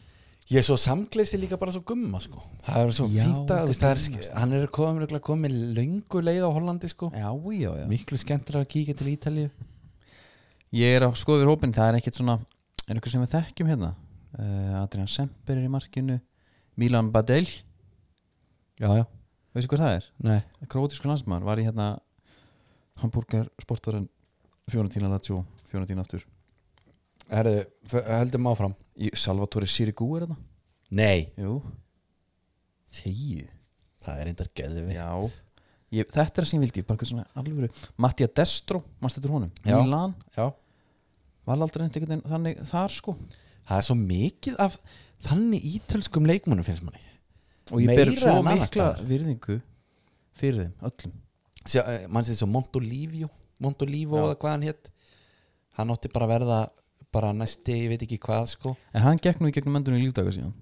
S2: Ég er svo samgleysi líka bara svo gumma sko Það er svo
S1: Já,
S2: fínt
S1: þetta
S2: að þú veist,
S1: er
S2: það er, sko.
S1: gumma,
S2: sk- hann er komin, örugglega komin löngu leið á Hollandi sko
S1: Já, já, já
S2: Miklu skemmtilega að kíkja til Ítalíu
S1: ég er að skoða yfir hópin það er ekkert svona, er eitthvað sem við þekkjum hérna uh, Adrian Semper er í markinu Milan Badel
S2: Já, já,
S1: veistu hvað það er?
S2: nei
S1: Krótisku landsmann var í hérna Hamburger sportvarinn Fjónatína Lazio, Fjónatína aftur
S2: Herðu, f- höldum áfram
S1: Í- Salvatore Sirigu er þetta
S2: Nei,
S1: Jú Þegju
S2: það er reyndar geðvikt
S1: Já ég, Þetta er það sem ég vildi, bara eitthvað svona alvöru Mattia Destro, mannst þetta honum
S2: Já.
S1: Milan,
S2: já
S1: var aldrei neitt einhvern veginn þannig þar sko
S2: Það er svo mikið af þannig ítölskum leikmönnum finnst manni
S1: Og ég
S2: Meira
S1: ber svo
S2: en annars
S1: mikla
S2: staðar.
S1: virðingu fyrir þeim, öllum
S2: Sjá, eh, mann sem svo Montolivio Montolivo
S1: Já.
S2: eða hvað hann hétt hann átti bara að verða bara næsti, ég veit ekki hvað sko
S1: En hann gekk nú í gegnum endunum í lífdaga síðan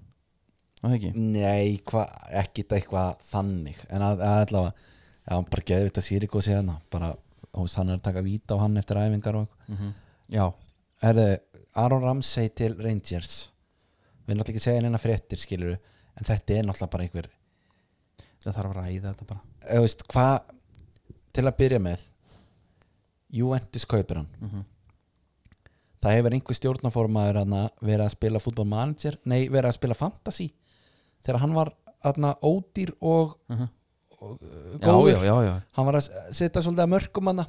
S1: Var Það ekki
S2: Nei, hva, ekki þetta eitthvað þannig en að, að allavega já, hann bara geði þetta Siriku síðan hérna. bara, hús, hann er að taka víta á hann eftir æfingar og eitthvað
S1: Mhm. Já
S2: Herðu, Aron Ramsey til Rangers við erum náttúrulega ekki að segja neina fréttir skilur en þetta er náttúrulega bara einhver
S1: Það þarf að ræða þetta bara
S2: eða veist, hvað til að byrja með Juventus kaupir hann
S1: Mhm.
S2: það hefur einhver stjórnaformaður hana, verið að spila fútbol manager nei, verið að spila fantasy þegar hann var hana, ódýr og,
S1: Mhm.
S2: og uh, góður
S1: Já, já, já, já
S2: hann var að s- setja svolítið að mörgum hana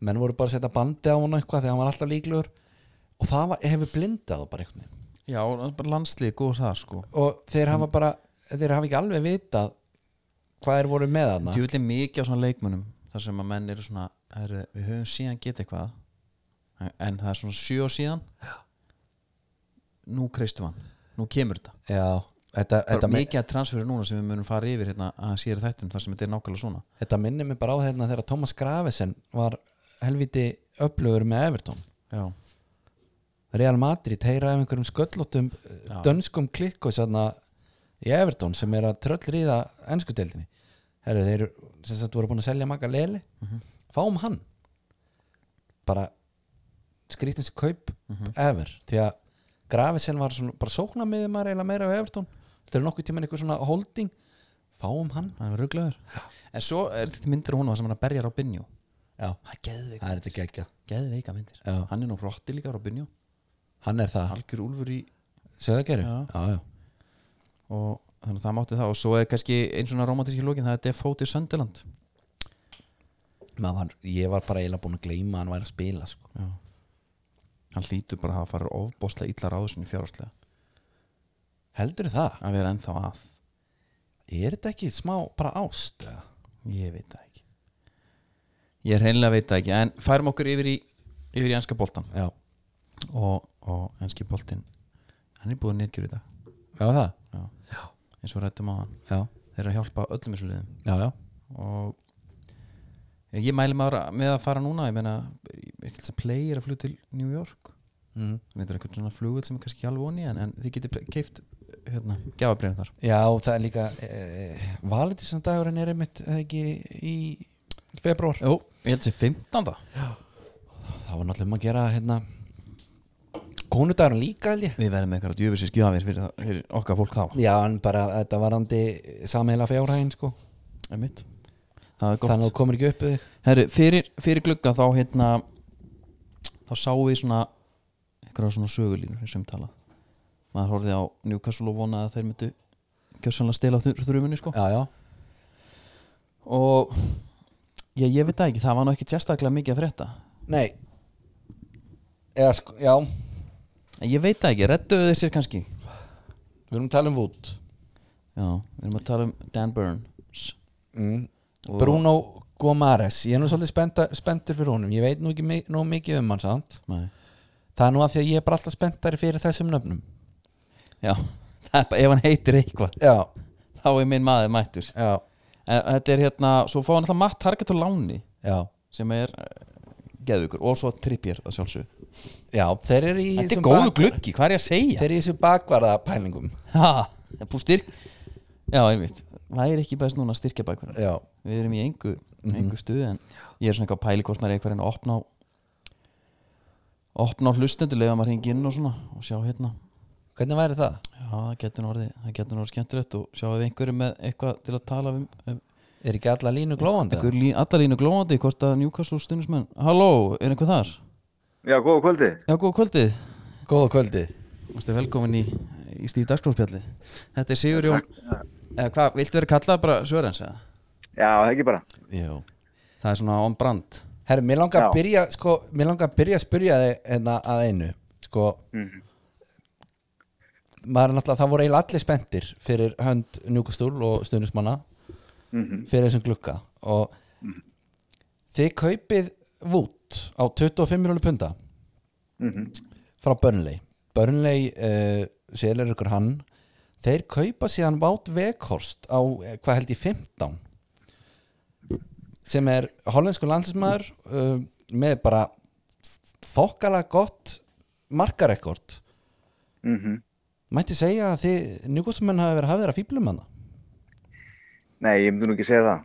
S2: menn voru bara að setja bandi á hann eitthvað þegar hann var alltaf líklegur og það var, hefur blindað þá bara einhvern veginn
S1: Já, það er bara landslið góð það sko
S2: og þeir hafa bara, þeir hafa ekki alveg vitað hvað þeir voru með hana
S1: Djúvill er mikið á svona leikmunum þar sem að menn eru svona er, við höfum síðan getið eitthvað en- en það er svona sjö og síðan nú kreistum hann nú kemur þetta,
S2: já, þetta,
S1: það
S2: þetta
S1: er
S2: me-
S1: mikið að transferu núna sem við munum fara yfir hérna að sér þættum þar sem þetta er nákvæmlega svona
S2: Þetta minnir mig bara á þeirna þegar Thomas Gravesen var helviti upplöfur með Everton
S1: já,
S2: Real Madrid heyra af einhverjum sköllóttum
S1: Já.
S2: dönskum klikku sanna í Everton sem er að tröllriða ennskudeldinni Herru, þeir eru- sem sagt voru búin að selja maka leli fáum hann bara skrýtnins kaup ever því að Gravesen var svona, bara sókna með maður eiginlega meira á Everton þetta er nokkuð tímann einhver svona holding fáum hann
S1: það er rugglaður en svo er þetta myndir hún sem hann að berja Robinho
S2: Já,
S1: það er geðveik,
S2: það er þetta gekkja
S1: geðveika myndir
S2: Já.
S1: hann er nú hrotti líka Robinho,
S2: Hann er það
S1: halgjur úlfur í
S2: Söðageru?
S1: Já.
S2: já, já.
S1: og þannig að það mátti það og svo er kannski eins og svona romantíski lókin það er Defoe til Söndiland
S2: Maður Var, ég var bara eiginlega búin að gleyma að hann væri að spila sko.
S1: Já. Hann hlýtur bara að hafa farið ofbóstlega illa ráðsinn í fjárháslega
S2: Heldur það?
S1: að vera ennþá að
S2: Er þetta ekki smá bara ást? eða?
S1: ég veit það ekki ég reynilega veit það ekki en færum okkur yfir í yfir í ennska boltan
S2: Já,
S1: og, og ennski boltin hann er búin nýttgjur í dag
S2: já það
S1: Já. eins og rættum á hann
S2: Já,
S1: þeir eru að hjálpa öllum þessu liðum
S2: já, já,
S1: og ég mæli maður með að fara núna ég meina, ég held að play er að fljú til New York
S2: mm.
S1: þetta er eitthvað svona flugvöld sem er kannski ekki alveg voni en, en þið getur keift hérna, gjafabrifin þar
S2: já og það er líka e, Valentísandagurinn er einmitt eða ekki í februar
S1: Jú, ég held sem 15.
S2: Það var náttúrulega um að gera hérna Konudagurinn líka held ég
S1: Við verðum með eitthvað djöfisins gjafir fyrir, það- fyrir okkar fólk þá
S2: Já, en bara þetta varandi samheila fjárhæðin sko
S1: Einmitt. Það er gott
S2: Þannig að þú komir ekki upp við þig
S1: Herru, fyrir, fyrir glugga þá hérna þá sáum við svona eitthvað svona sögulínur sem tala maður horfði á Newcastle og vonaði að þeir myndu gjössanlega stela þur, þrjumunni sko
S2: Já, já,
S1: og ég, ég veit það ekki, það var nú ekki sérstaklega mikið að frétta
S2: nei Eða sko, já Við
S1: en ég veit það ekki, redduðu þeir sér kannski
S2: erum að tala um vút
S1: Já, við erum að tala um Dan Burns
S2: mm.
S1: Og-
S2: Bruno Gomares ég er nú svolítið spennta, spenntur fyrir honum ég veit nú ekki mi- nóg mikið um hann sant?
S1: Nei.
S2: það er nú að því að ég er bara alltaf spenntari fyrir þessum nöfnum
S1: Já, það er bara, ef hann heitir eitthvað
S2: já,
S1: þá er minn maður mættur
S2: já,
S1: en þetta er hérna, svo fá hann alltaf Matt Target á láni
S2: já,
S1: sem er uh, geðugur og svo Trippier að sjálfsög
S2: já þeir eru í
S1: þetta
S2: þessum
S1: er góðu
S2: bak-
S1: gluggi, hvað er ég að segja
S2: þeir eru í þessum bakvarða pælingum
S1: ha, það er búið styrk já, einmitt, væri ekki bæst núna að styrkja bækvæðan
S2: já,
S1: við erum í engu,
S2: Mhm.
S1: engu stuð en ég er svona eitthvað að pæli hvort maður er eitthvað að reyna að opna á opna á hlustendu, leiða maður hringi inn og svona og sjá hérna
S2: hvernig væri það?
S1: já, það getur nú orðið, það getur nú orðið skemmtilegt og sjá ef einhverju með eitthvað til að tala um, um
S2: er ekki alla línu glóðandi?
S1: einhver lín, allar línu glóðandi hvort að Newcastle stundismenn, halló, er einhver þar?
S4: Já, góða kvöldið.
S1: Já, góð kvöldið
S2: Góða kvöldi
S1: Vastu velkomin í, í Stíf Dagskrónspjallið Þetta er Sigur Jón eða hvað, viltu vera kallað bara Sörens eða?
S4: Já, það ekki bara.
S2: Jó
S1: Það er svona on brand
S2: Herru, mér langar að
S4: Já.
S2: byrja sko, mér langar að byrja að spyrja þig hérna að einu sko
S4: Mhm,
S2: maður er náttúrulega, það voru eiginlega allir spenntir fyrir hönd njúkastúl og stundismanna
S4: mhm,
S2: fyrir þessum glugga og þið kaupið vút á 25 miljónu punda
S4: mhm,
S2: frá Burnley Burnley uh, selur ykkur hann þeir kaupa síðan Wout Weghorst á eh, hvað held ég 15 sem er hollensku landsmaður uh, með bara þokkala gott markarekord
S4: Mm
S2: mætti segja að þið njúkvæmstumenn hafi verið hafðir að fýblum hana
S4: Nei, ég myndi nú ekki segja það.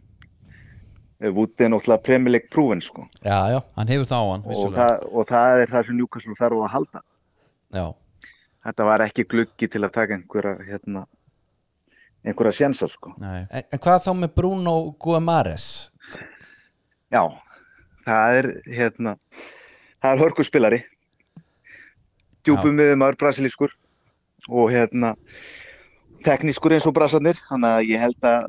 S4: Vútið er náttúrulega premjuleik prúfin, sko.
S2: já, já,
S1: Hann hefur það á hann,
S4: Og
S1: vissulega
S4: það, og það er það sem Newcastle þarf að halda.
S2: já,
S4: Þetta var ekki gluggi til að taka einhverja, hérna, einhverja sjensar, sko.
S1: Nei,
S2: en, en hvað þá með Bruno Guamares
S4: Já, það er, hérna, það er hörkuspilari. Djúpum miðum maður brasilískur og, hérna, teknískur eins og brasarnir. Þannig að ég held að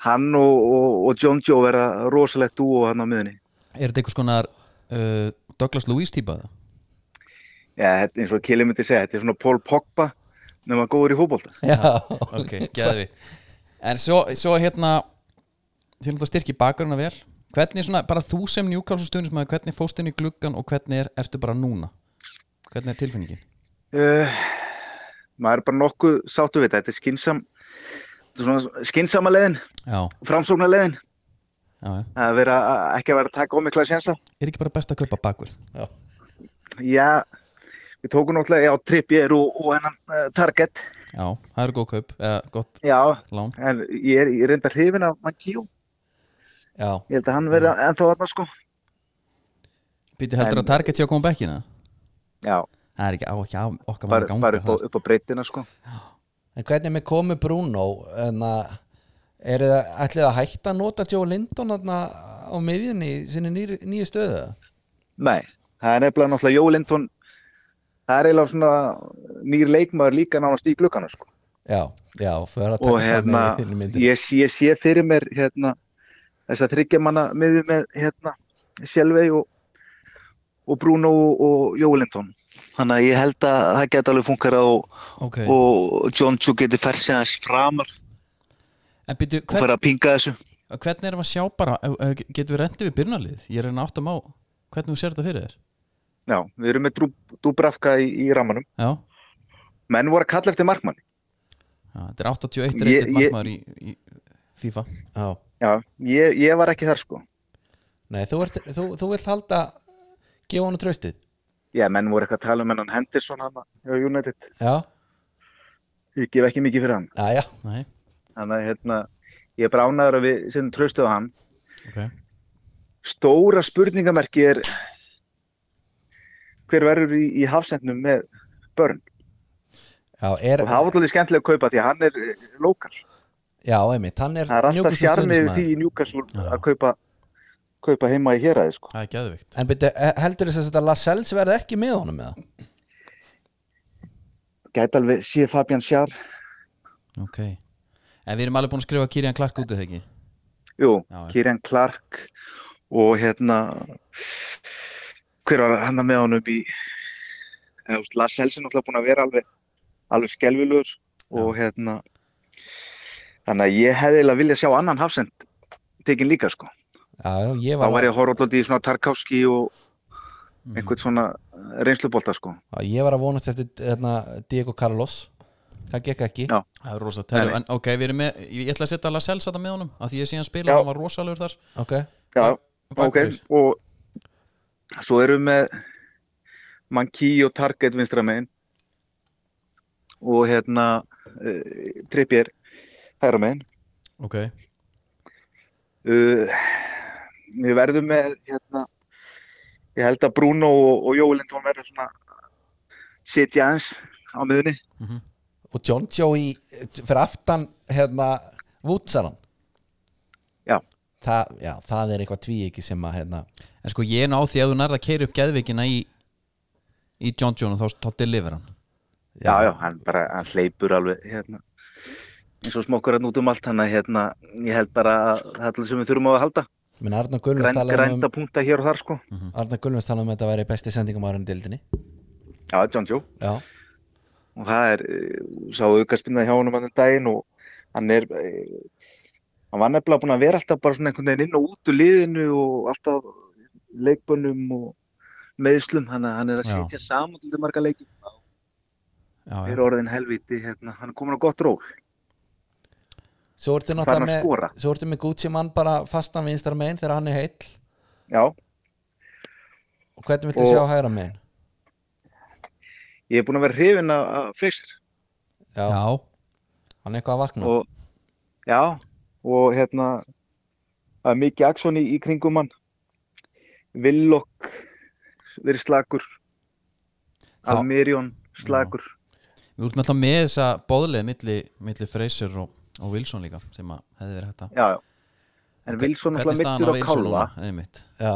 S4: hann og, og, og John Joe verða rosalegt dúo hann á miðunni.
S1: er þetta einhvers konar uh, Douglas Lewis típaða?
S4: Já, þetta, eins og Kili myndi segja, þetta er svona Paul Pogba nema góður í fótbolta.
S2: já,
S1: Ok, geði við En svo, svo hérna Þið náttúrulega styrki bakaruna vel Hvernig svona, bara þú sem Newcastle stuðnismæður Hvernig fóst inn í gluggan og hvernig er, ertu bara núna? Hvernig er tilfinningin?
S4: Uh, maður er bara nokkuð sáttu við þetta, þetta er skynsam, þetta er svona skynsama leiðin,
S1: Já,
S4: framsóknar leiðin,
S1: já, já
S4: að vera, að- ekki að vera að taka ómikla sjensa.
S1: Er ekki bara best að kaupa bakvörð?
S4: Já, við tókum náttúrulega, já, Trippier og, og hennan uh, Target,
S1: Já, það eru góð kaup Eða gott
S4: já,
S1: lán
S4: en ég er, ég er enda hrifin af Mankiú,
S2: já.
S4: ég held að hann verði ennþá þarna sko.
S1: Býti heldur
S4: En-
S1: að Target sé að koma bekkina?
S4: Já,
S1: Það er ekki á ekki á okkar mann
S4: bara,
S1: að ganga
S4: bara upp, á,
S1: þar.
S4: upp á breytina sko.
S2: en hvernig með komu Bruno en að er það, ætlið að hætta að nota Joe Lindon þarna á miðjunni í sinni nýri- nýju stöðu
S4: Nei, það er nefnilega náttúrulega Jó Lindon, það er eiginlega svona nýr leikmaður líka nánast í glukkanu sko.
S2: já, já, fyrir að taka
S4: og
S2: það
S4: hérna,
S2: með í þinni myndinni.
S4: ég, ég sé fyrir mér hérna, þess að þryggja manna miður með hérna, Sjálvei og, og Bruno og, og Jólindon þannig að ég held að það geti alveg funkar og,
S1: Ok,
S4: og John Chu geti fær sig hans framar
S1: en býtu,
S4: og
S1: hvern,
S4: fær að pinga þessu
S1: hvernig erum við að sjá bara ef- ef- Getum við rendið við byrnalið? Ég er enn áttum á Hvernig þú sér þetta fyrir þér?
S4: Já, við erum með Dúbrafka í, í ramanum
S1: Já,
S4: menn voru að kalla eftir markmann
S1: já þetta er 81
S4: Ég-
S1: reytið
S4: ég-
S1: markmaður í, í FIFA
S2: já,
S4: Já, ég, ég var ekki þar sko
S2: nei, þú, ert, þú, þú vilt halda gefa honum tröstið
S4: Já, menn voru eitthvað að tala um hennan Henderson hann á United
S2: já,
S4: ég gef ekki mikið fyrir hann
S2: já, já
S1: Nei,
S4: þannig að hérna, ég er bránaður að við sem tröstuðu á hann
S1: ok
S4: stóra spurningamerki er hver verður í, í hafsendnum með börn
S2: Já, er,
S4: og það var alveg skemmtilega að kaupa því að hann er eh, lokal,
S2: já einmitt, hann er
S4: það er alltaf
S2: Newcastle
S4: sjarmi við
S2: stuðningsmaður.
S4: því í Newcastle
S1: Já.
S4: að kaupa, kaupa heima í héræði sko.
S1: Það er geðvikt
S2: En byrja, heldur þess að þetta Lascelles verði ekki með honum með það?
S4: gæti alveg sé Fabian Sjár
S1: Ok En við erum alveg búin að skrifa Kirjan Clark út eða ekki
S4: jú,
S1: Já, já.
S4: Kieran Clark og hérna hver var hann með honum í eða, þú veist, Lars Helsin náttúrulega búin að vera alveg alveg skelvilugur og hérna þannig að ég hefði eiginlega viljað sjá annan hafsend tekin líka sko
S2: Já, já, ég
S4: þá
S2: var, Mhm.
S4: var ég að horfa alltaf í svona Tarkovski og
S1: Mm.
S4: einhvern svona reynslubolta sko.
S2: að, ég var að vonast eftir hérna, Diego Carlos Það gekk ekki
S4: Já.
S1: Það er rosa tæru
S4: Nei, nei.
S1: En ok, við erum með Ég ætla að setja alveg selsa þetta með honum Af því ég sé hann spila
S4: Já.
S1: Hann var rosalegur þar
S2: Ok,
S4: Já, ok,
S1: Bakvörður.
S4: og svo erum við með Mankey og Target vinstra megin og hérna uh, Trippier hægra megin
S1: Ok
S4: uh, Við verðum með hérna, ég held að Bruno og, og Jói Lindholm verða svona sitja aðeins á miðunni
S2: og John Joe í fyrir aftan hérna Woodsalan
S4: Já.
S2: Það, já, það er eitthvað tví ekki sem að hérna,
S1: En sko ég er ná því að þú nærða að keira upp geðvikina í, í John John og þá, þá deliver hann
S4: já, já, hann bara, hann hleypur alveg hérna eins og smokkur hann út um allt hann að hérna, ég held bara að það er allir sem við þurfum á að halda
S2: Menn Arna Gunnars
S4: Græn,
S2: talaði um,
S4: grænda punkta hér og þar sko
S1: Mhm.
S2: Arna Gunnars talaði um að þetta væri besti sendingum ára í dildinni
S4: já, John Joe
S2: Já,
S4: og það er, eh, sá aukaspinna hjá honum hann um daginn og hann er eh, hann var nefnilega búin að vera alltaf bara svona einhvern veginn inn og út úr liðinu og alltaf leikbönnum og meðslum, hann, hann er að
S1: Já.
S4: sitja saman til marga leiki,
S1: já,
S4: er
S1: já,
S4: orðin helviti hérna, hann er komin á gott ról,
S2: svo ertu
S4: farin að
S2: náttúrulega með
S4: skora
S2: Svo ertu með Gucci mann bara fastan vinstar megin þegar hann er heill
S4: já,
S2: og hvernig viltu
S4: Og-
S2: sjá hægra megin?
S4: ég er búin að vera hrifin að, að freiksir
S2: Já,
S1: já,
S2: hann er eitthvað að vakna
S4: og já, og hérna það er mikið aksjón í, í kringum hann Villok verið slagur
S1: Þá-
S4: Almirjón slagur
S1: við erum alltaf með þessa boðlið milli, milli Fraser og, og Wilson líka sem að hefði verið hægt að
S4: já, já. en Wilson alltaf mittur á kálfa
S1: einmitt,
S2: Já,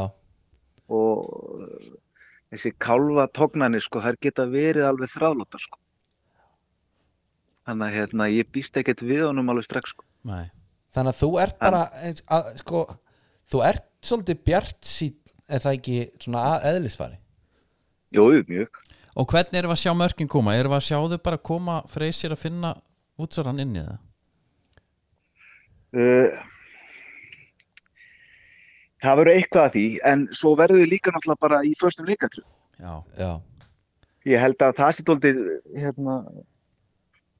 S4: og uh, þessi kálfa tognani sko, þær geta verið alveg þráðlóta sko þannig að hérna, ég býst ekkert við honum alveg strax sko
S1: nei,
S2: þannig að þú ert bara eins, að, sko, þú ert svolítið bjart sín eða það ekki svona að eðlisfari
S4: Jú, jú, mjög
S1: og hvernig erum við að sjá mörkin koma erum við að sjá þau bara koma Fraser að finna útsaran inn í það
S4: uh, Það verður eitthvað að því en svo verður við líka náttúrulega bara í föstum leikatru
S1: já,
S2: Já,
S4: Ég held að það sé tóldi hérna,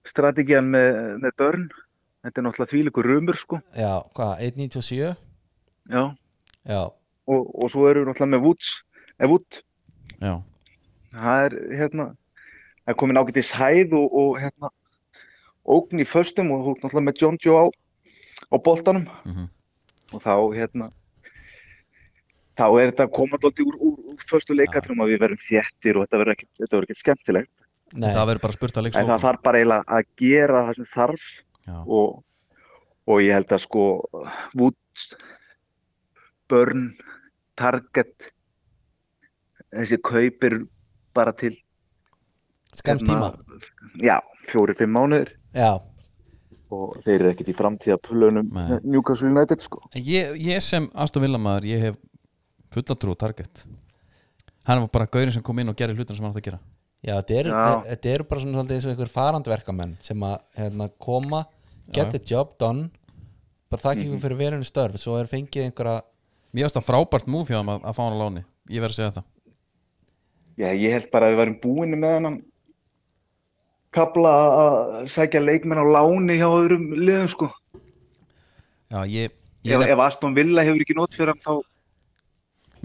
S4: strategian með, með börn þetta er náttúrulega þvíleikur rumur sko
S2: já, hvað, 1.97?
S4: Já.
S2: Já,
S4: Og, og svo eru við náttúrulega með Woods eða Wood,
S1: já,
S4: það er hérna það er komin ágætis hæð og, og hérna ógn í föstum og þú ert náttúrulega með John Joe á, á boltanum
S1: mhm,
S4: og þá hérna þá er þetta komandi úr, úr, úr föstu leikatrum að við verðum þéttir og þetta verður ekkit, þetta verður ekkit skemmtilegt
S2: nei,
S1: það verður bara spurt að
S4: en það
S1: leikslókum
S4: þarf bara eiginlega að gera það sem þarf
S1: já,
S4: og, og ég held að sko Woods, Burn, Target þessi kaupir bara til hérna
S2: skemmt tíma
S4: já, fjóri-fimm mánuðir
S2: Já,
S4: og þeir eru ekkit í framtíða pulunum
S1: Nei.
S4: Newcastle United sko
S1: En ég, ég sem Aston Villamaður, ég hef fulla trú á target hann var bara gaurinn sem kom inn og gerði hlutina sem hann átti að gera
S2: já, þetta eru,
S4: Já.
S2: þe- þetta eru bara svona svolítið eins og einhver farandverkamenn sem að hérna, koma, get the job done bara þakka ykkur fyrir verinu störf svo er fengið einhverja
S1: mér finnst það frábært múf hjá hann að, að fá hann á láni ég verð að segja það
S4: Já, ég held bara að við værum búinu með hennan kapla að sækja leikmenn á láni hjá öðrum liðum sko.
S1: já, ég,
S4: Ef,
S1: ég er
S4: ef Aston Villa hefur ekki nót fyrir hann þá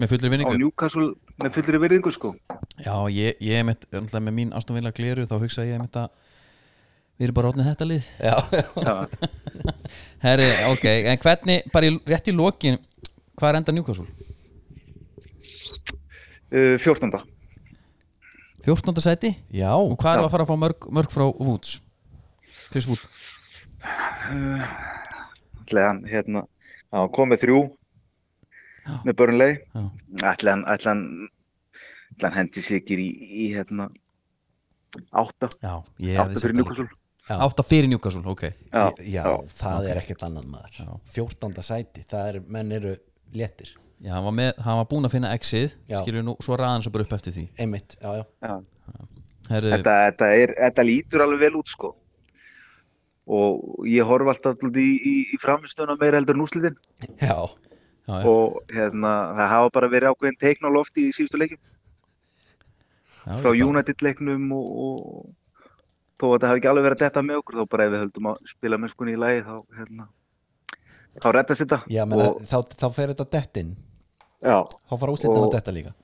S1: með fullri
S4: á
S1: vinningu
S4: Newcastle með fullri virðingu sko.
S1: já, ég, ég er með, með mín Aston Villa gleru þá hugsa ég með að við erum bara orðnið þetta lið
S2: já,
S4: Já.
S1: Herri, ok, en hvernig, bara í, rétt í lokin hvað er enda Newcastle?
S4: Uh, 14.
S1: 14. sæti?
S2: já,
S1: Og hvað eru
S4: Já.
S1: að fara að fá mörg, mörg frá Woods? Chris Wood
S4: Ætli hann hérna, hann kom með þrjú með Burnley.
S1: Já.
S4: Ætli hann, ætli hann, ætli hann hendi sig ekki í, í hérna átta,
S1: Já, ég
S4: átta fyrir Newcastle.
S2: Já.
S1: Átta fyrir Newcastle, ok
S4: Já,
S2: já það er ekkert annan maður
S1: Já.
S2: 14. sæti, það er, menn eru léttir,
S1: Já, hann var, með, hann var búin að finna exið
S2: Já.
S1: skilur nú, svo ræðan svo bara upp eftir því
S2: einmitt já, já,
S4: já.
S1: Herru,
S4: þetta, þetta, er, þetta lítur alveg vel út sko og ég horf alltaf alltaf í, í, í framistöðuna meira heldur en úslitin
S2: já,
S1: já, já,
S4: og hérna, það hafa bara verið ákveðin teikn á lofti í síðustu leikjum
S1: já,
S4: frá
S1: já,
S4: United leiknum og, og þó að það hafi ekki alveg verið að detta með okkur þá bara ef við höldum að spila mennskunni í lagi þá hérna þá rettast þetta
S2: já menna,
S4: og,
S2: þá, þá fer þetta dettin,
S4: já,
S2: þá fara úslitin
S4: Og-
S2: að detta líka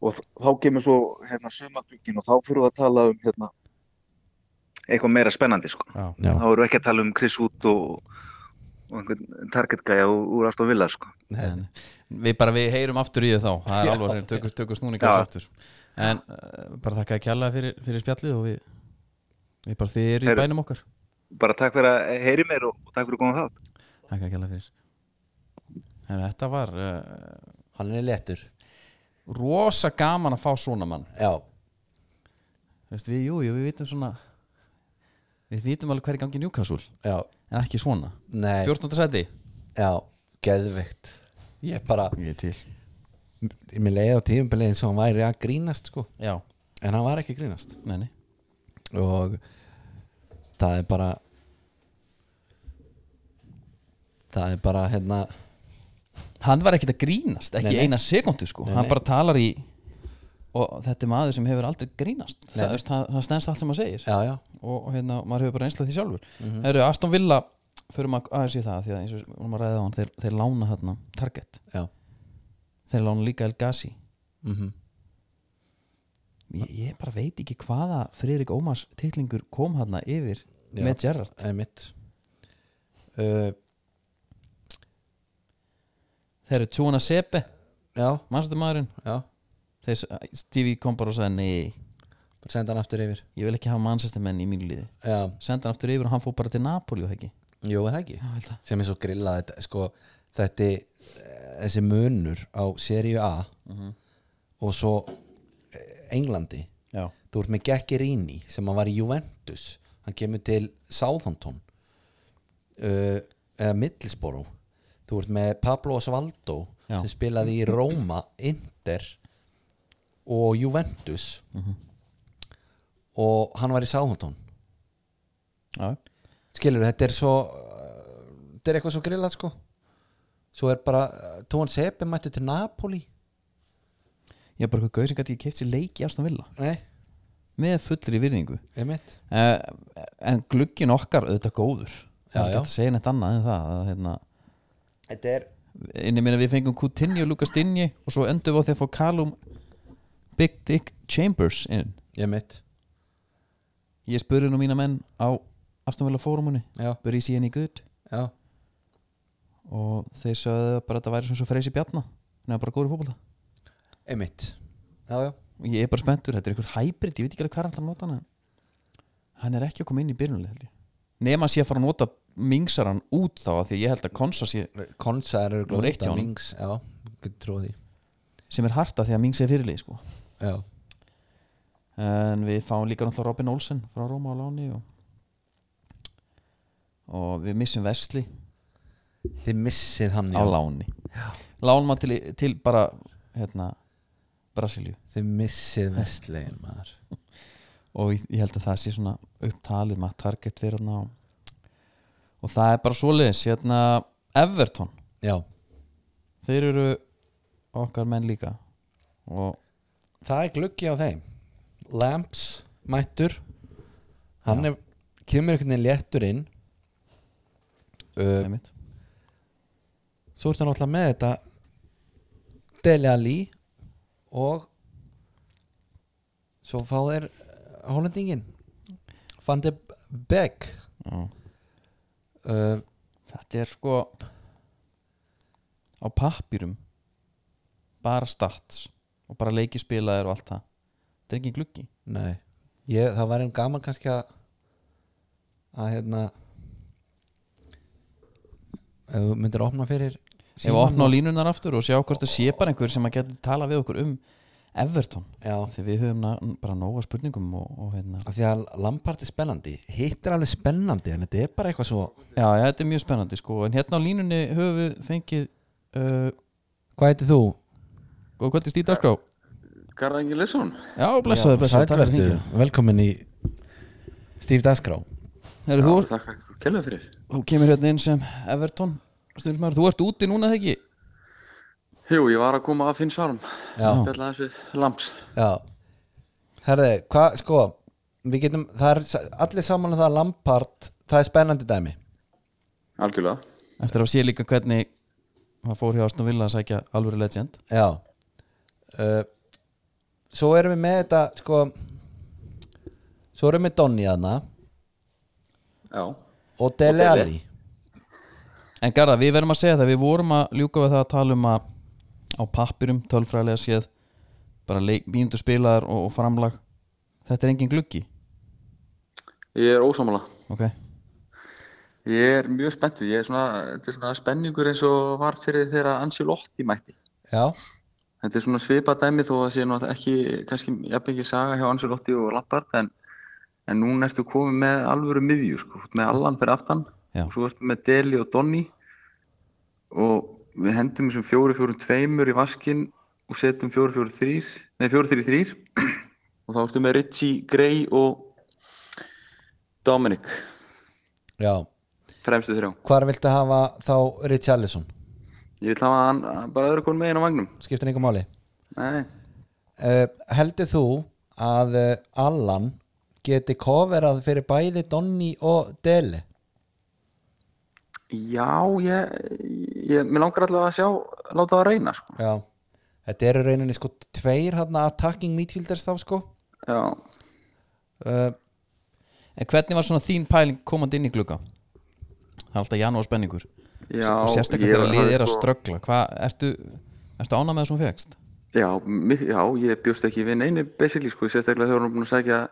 S4: og þ- þá kemur svo hérna sumaklukkinn og þá fyrir við að tala um hérna eitthvað meira spennandi sko
S1: já,
S2: já,
S4: þá erum við ekki að tala um Chris Wood og, og einhvern targetgæja úr, úr Aston Villa sko.
S1: en, Við bara, við heyrum aftur í þau þá Það er alveg, tökur, tökur snúningar
S4: Já.
S1: aftur En uh, bara þakka að kjalla fyrir, fyrir spjallið og við, við bara þið eru í
S4: Heyrðu.
S1: bænum okkar
S4: bara takk fyrir að heyri mér og, og takk fyrir góðan þátt
S1: Þakka að kjalla fyrir Herru, þetta var uh,
S2: hann er léttur
S1: rosa gaman að fá svona mann
S2: já,
S1: Veist, við, jú, jú, við vitum svona Við vitum alveg hverju gangi Newcastle
S2: já,
S1: En ekki svona
S2: nei,
S1: 14. seti
S2: já, geðveikt Ég bara,
S1: Ég til
S2: mér leiði á tíðumbilið eins og hann væri að grínast sko
S1: Já,
S2: En hann var ekki að grínast
S1: nei, nei
S2: og það er bara það er bara hérna
S1: Hann var ekkert að grínast, ekki
S2: Nei, nei.
S1: eina sekundu sko
S2: Nei,
S1: Hann
S2: nei.
S1: bara talar í Og þetta er maður sem hefur aldrei grínast
S2: Nei,
S1: Það,
S2: nei.
S1: veist, það, það stendst allt sem maður segir
S2: já já,
S1: og, og hérna, maður hefur bara einslað því sjálfur mm
S2: Mhm.
S1: Herru, Aston Villa Förum að- aðeins í það Því að eins og við maður ræðið á hann Þeir, þeir lána þarna Target
S2: já.
S1: Þeir lána líka El Gassi
S2: Mm
S1: ég, ég bara veit ekki hvaða Friðrik Ómars titlingur kom þarna yfir
S2: Já.
S1: Með Gerrard
S2: einmitt uh,
S1: Þeir eru tjóna sepe,
S2: já,
S1: mannstu maðurinn
S2: já
S1: Þess, Stevie kom bara og sagði nei
S2: bara senda hann aftur yfir
S1: Ég vil ekki hafa mannsæstum menn í mínu liði
S2: já,
S1: Senda hann aftur yfir og hann fór bara til Napoli og það ekki
S2: jú er það ekki
S1: Já, ég held að.
S2: sem er svo grillað þetta, sko, þetta er, eh, þessi munur á seríu A og svo eh, Englandi
S1: Já,
S2: þú ert með Gekkirini sem hann var í Juventus hann kemur til Southampton uh, eða Middlesbrough þú ert með Pablo Osvaldo
S1: Já.
S2: sem spilaði í Roma, Inter og Juventus og hann var í Southampton
S1: já,
S2: skilur, þetta er svo uh, þetta er eitthvað svo grillað sko svo er bara, uh, Tóan Sepi mættu til Napoli
S1: ég er bara eitthvað gauð sem gæti ég keift sér leik í Aston Villa
S2: nei,
S1: Með fullri virðingu
S2: einmitt
S1: uh, En glugginn okkar auðvitað góður
S2: Já,
S1: Það er
S2: já.
S1: ekki að segja neitt annað en það að, hérna,
S2: þetta er,
S1: Inni minna við fengum Coutinho, Lucas Dinje Og svo endum við á því að fá Callum Big Dick Chambers inn
S2: einmitt
S1: Ég spurði nú mína menn á Aston Villa fórumunni
S2: já,
S1: Bur í síðan í gutt
S2: já,
S1: og þeir sögðu bara að þetta væri svona svo freysi bjarna nefnir bara góður í fótbolta
S2: einmitt já, já
S1: og ég er bara spenntur, þetta er einhver hybrid ég veit ekki alveg hvað er alltaf að nota hann en hann er ekki að koma inn í byrjunlega held ég nema að sé að fara að nota mingsaran út þá af því að ég held að Konsa sé
S2: Konsa er
S1: Númer eitt hjá honum.
S2: Mings, já, getur trúið því
S1: sem er harta því að Mings er fyrirlið sko.
S2: já.
S1: en við fáum líka náttúrulega Robin Olsen frá Róma á Láni og, og við missum Vesli
S2: Þið missið hann
S1: á Láni Lánma til, til bara hérna, Brasilíu
S2: Þið missið vestlegin maður
S1: og ég ég held að það sé svona upptalið maður target fyrir hann á og það er bara svoleiðis hérna Everton,
S2: Já,
S1: þeir eru okkar menn líka og
S2: það er gluggi á þeim Lamps mættur Hann er, kemur einhvern veginn léttur inn uh,
S1: einmitt,
S2: Svo ertu náttúrulega með þetta Dele Alli og svo fá þeir eh, Hollendingin Van de Beek
S1: já.
S2: uh,
S1: þetta er sko á pappýrum bara stats og bara leikispilaðir og allt það þetta er ekki gluggi
S2: Nei, ég, það var einn gaman kannski að að hérna ef þú myndir opna fyrir
S1: ef við opna á línunar aftur og sjá hvort það sé bara einhver sem að geta tala við okkur um Everton,
S2: Já,
S1: því við höfum na, bara nóga spurningum og, og hérna
S2: af því að Lampard er spennandi hitt er alveg spennandi en þetta er bara eitthvað svo
S1: Já, já, þetta er mjög spennandi sko En hérna á línunni höfum við fengið uh,
S2: Hvað heitir þú?
S1: Góð kvöldi stíðarskrá
S5: Garðangi Lisson
S1: Já, blessaði, blessaði takk fyrir
S2: Sælvertu,
S1: hringið.
S2: velkomin í Steve Daskrá
S1: Heyrðu, þú,
S5: Takk kella fyrir
S1: þú kemur hérna inn sem Everton Stundsmaður, þú ert úti núna þegar ekki
S5: Jú, ég var að koma að finn svarum
S2: Já,
S5: Spjalla aðeins við Lamps
S2: já Herði, hvað, sko við getum, það er sa- allir saman að það að Lampard, það er spennandi dæmi
S5: Algjörlega
S1: Eftir að sé líka hvernig Það fór hjá Aston Villa að sækja alvöru legend
S2: Já uh, Svo erum við með þetta sko Svo erum við Donny aðna
S5: Já
S2: og Dele
S5: Og Dele.
S2: Alli
S1: En Garða, við verðum að segja það Við vorum að ljúka við það að tala um að Á pappirum, tölfræðilega séð Bara leik, mínútu spilaðar og, og framlag Þetta er engin gluggi
S5: Ég er ósámála
S1: Ok,
S5: Ég er mjög spenntur Ég er svona, þetta er svona spenningur eins og var fyrir þegar Ansi Lotti mætti
S2: Já,
S5: Þetta er svona svipað dæmi þó að það sé náttúrulega ekki, kannski jafn ekki saga hjá Anselotti og Lampard en, en núna ertu komið með alvöru miðju sko, Þú ert með Allan fyrir aftan
S1: Já.
S5: og svo ertu með Deli og Donni og við hendum þessum 4-4-2 í vaskinn og setjum 4-4-3 nei 4-3-3 og þá ertu með Richie, Gray og Dominic
S2: Já,
S5: fremstu þrjá.
S2: hvar viltu hafa þá Richarlison?
S5: Ég vil hafa hann bara öðru konum megin á vagnum.
S2: Skiptir einhver máli
S5: Nei,
S2: uh, Heldur þú að uh, Allan geti coverað fyrir bæði Donny og Dele?
S5: já, ég, ég, mér langar allavega að sjá, láta það reyna, sko.
S2: Já, þetta eru rauninni sko tveir hérna attacking midfielders þá sko
S5: Já,
S2: uh,
S1: En hvernig var svona þín pæling komandi inn í glugga? Það er alltaf janúar spenningur
S5: já.
S1: og sérstaklega
S5: ég
S1: þegar liðið er að
S5: sko-
S1: ströggla Hvað, ertu, ertu ánað með það sem þú fegst?
S5: Já, mi- já, ég bjóst ekki við neinu, basically, sko, sérstaklega þegar hún er búin að segja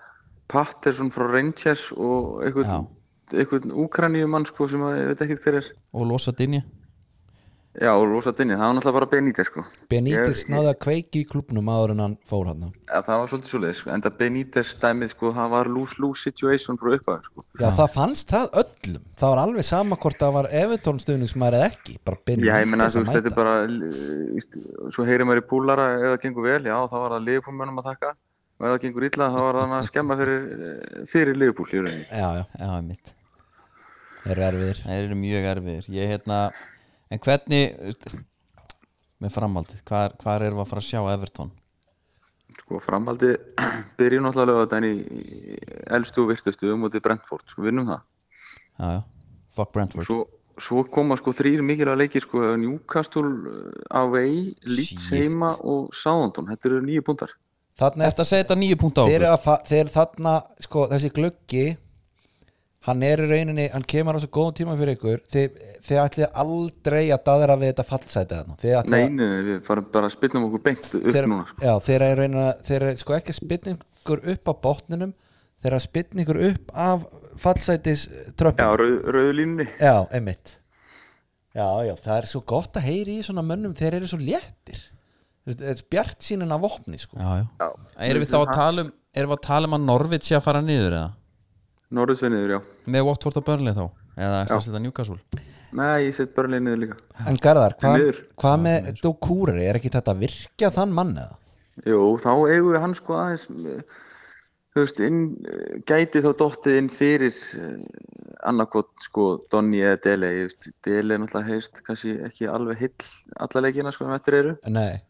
S5: Patterson frá Rangers og
S1: Já.
S5: einhvern, einhvern úkraníumann, sko, sem að ég veit ekkert hver er.
S1: Og losa dinja?
S5: Já, og rosa dinni, það var náttúrulega bara Benítez, sko.
S2: Benítez
S5: Ég-
S2: náði að kveiki í klubnum áður en hann fór hann
S5: Já, það var svolítið svolítið, sko, enda Benítez dæmið, sko, það var lose-lose situation frá upphæðin, sko.
S2: Já, það fannst það öllum Það var alveg sama hvort það var Evertón stuðningsmæður eða ekki bara
S5: Já, ég meina
S2: Benítez
S5: þú
S2: að
S5: veist,
S2: mæta
S5: þetta er bara, eh, víst, svo heyrir maður í púlara ef það gengur vel, já, þá var það liðbúlmönnum að þakka og ef það gengur illa, þá var það að skemma fyrir, eh, fyrir liðbúl í rauninni.
S2: Já, já,
S1: Já, mitt
S2: þeir eru erfiðir
S1: Það eru mjög erfiðir Ég hérna En hvernig veist, Með framhaldið Hvar, hvar erum við að fara að sjá Everton?
S5: Sko, framhaldi byrjum náttúrulega að þannig elstu og virtustu um mótið Brentford, sko, vinnum það.
S1: Já, já Fuck Brentford
S5: Svo, svo koma sko þrýr mikilvæg leikir, sko, Newcastle eh, away, Leeds
S1: Shit.
S5: heima og Southampton, þetta eru nýju búndar.
S2: Þarna
S1: Eftir að segja þetta nýju punkt á
S2: þeir,
S1: okkur
S2: að, fa- þeir þarna sko, þessi gluggi hann er í rauninni, hann kemur á svo góðum tíma fyrir ykkur þið, þið ætlið aldrei að daðra við þetta fallsæti þarna þið ætlið
S5: Nei, nei, við bara, bara spilnum okkur beint upp
S2: þeir,
S5: núna, sko.
S2: já, þeir eru rauninni að- þeir eru sko ekki að spynna ykkur upp á botninum þeir eru að spynna ykkur upp af fallsætis
S5: Já,
S2: tröppum já.
S5: rauð, rauðlínni.
S2: einmitt já, já, það er svo gott að heyri í svona mönnum þeir eru svo léttir bjart sínin af vopni sko
S1: Já, já
S5: Já.
S1: Erum við þá að tala um Erum við að tala um að Norvits sé að fara niður eða?
S5: Norðsvinniður, já.
S1: Með Watford og Burnley þá? Eða eftir að setja Newcastle?
S5: Nei, ég set Burnley niður líka.
S2: en Garðar, hvað
S5: miður.
S2: hva með Dókúri, er ekki þetta að virkja þann mann eða?
S5: Jú, þá eigum við hann sko aðeins, eh, þú veist, inn, eh, gæti þá dottið inn fyrir eh, annarkot sko Donny eða Dele, ég veist, Dele er náttúrulega heist kannski ekki alveg hill alla leikina sko sem eftir eru,
S2: Nei,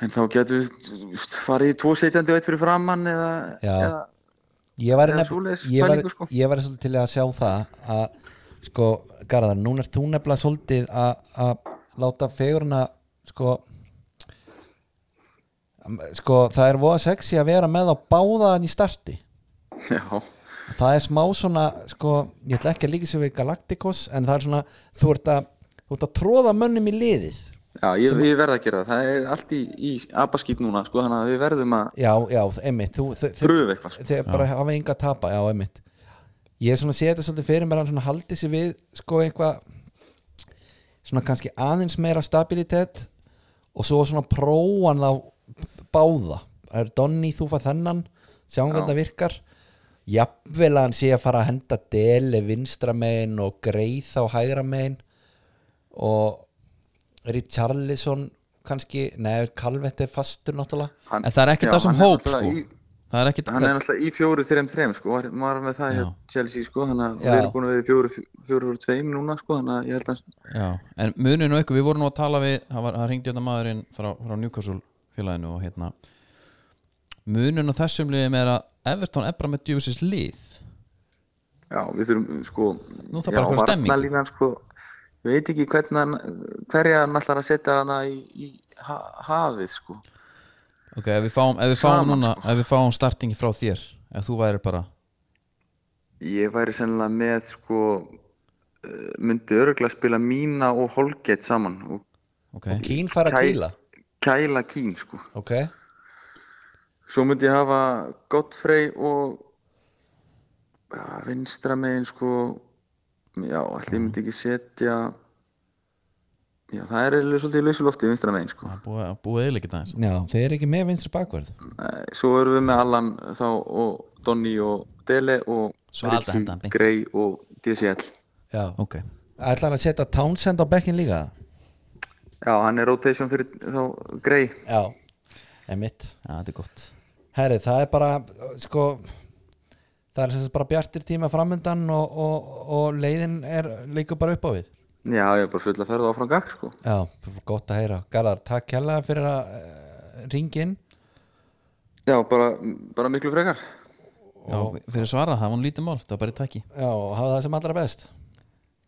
S5: en þá getum við þú veist, farið í tvo setjandi og eitt fyrir framann eða,
S2: Já.
S5: eða
S2: ég var,
S5: Eða
S2: nef,
S5: svoleiðis
S2: ég, var,
S5: pælingu, sko.
S2: ég var svolítið til að sjá það að sko, Garðar, núna er þú nefnilega svolítið að- að láta fegurina sko sko, það er voða sexy að vera með á báðaðan í starti
S5: já,
S2: það er smá svona, sko ég ætla ekki að líka sér við Galacticos en það er svona, þú ert að þú ert að tróða mönnum í liðið
S5: já, ég, ég verð að gera það, það er allt í, í abaskýt núna sko, þannig að við verðum að
S2: já, já, einmitt þú, þau- þau-
S5: pröfa eitthvað sko.
S2: þegar bara hafa enga að tapa já, einmitt ég svona sé þetta svolítið fyrir mér að hann svona haldi sér við sko einhvað svona kannski aðeins meira stabilitet og svo svona prófan þá báða það er Donny þú fær þennan sjáum
S5: Já.
S2: hvernig það virkar jafnvel að hann sé að fara að henda deli vinstra megin og greið á hægra megin og Richarlison kannski, neður Kalvett er fastur náttúrulega
S5: Hann-
S1: En það er ekkert
S5: já,
S1: af þessum
S5: hann er
S1: hóp,
S5: náttúrulega
S1: sko.
S5: í-
S1: Það er ekkit
S5: Hann er náttúrulega í fjóru, þreim, þreim sko, var- maður var með það hjá
S1: Já.
S5: Chelsea sko, þannig að
S2: Já.
S5: við erum búin að vera í fjóru, fjóru, fjóru, tveim núna sko, þannig að ég held að,
S1: Já, en munið nú eitthvað, við vorum nú að tala við það, var, það ringdi þetta maðurinn frá, frá Newcastle félaginu og hérna munið á þessum liðum er að Everton ebra með djúfisins lið
S5: já, við þurfum sko,
S1: Nú þarf bara einhver stemming.
S5: varnarlínan, sko, ég veit ekki hvernig hann, hverja hann ætlar að setja hana í, í ha hafið sko,
S1: Ok, ef við fáum, ef við fáum
S5: Saman,
S1: núna ef við fáum startingi frá þér ef þú væri bara
S5: ég væri sennilega með sko, eh, myndi öruglega spila Mína og Holgate saman og
S1: Ok,
S2: Kín fara að
S5: Kæ-
S2: kýla
S5: kæla Kín sko,
S2: ok
S5: svo myndi ég hafa Godfrey og ja,
S1: Mhm.
S5: vinstra megin sko já, allir myndi ekki setja Já, það er eiginlega svolítið í lausu lofti vinstra megin sko.
S1: Það er búið að búið eðlikið aðeins
S2: Já, þeir eru ekki með vinstri bakverð
S5: Nei, Svo erum við með Allan þá og Donny og Dele og
S1: Svo allt
S5: Richie,
S1: þetta, beint.
S5: Gray og DCL
S2: Já
S1: Ok,
S2: Ætlar hann að setja Townsend á bekkin líka?
S5: Já, hann er rotation fyrir þá Gray
S2: Já Emitt
S1: ja, það er gott
S2: Herri, það er bara, uh, sko Það er sem sagt bara bjartir tíma framöndan og, og, og leiðin er líka bara upp á við
S5: Já, ég er bara full að ferða áfram gag sko.
S2: Já, gott að heyra Garðar, takk kjærlega fyrir að uh, ringin
S5: Já, bara, bara miklu frekar
S1: Já, fyrir að svara, það var nú lítið mál, það var bara í takki
S2: Já, og hafa það sem allra best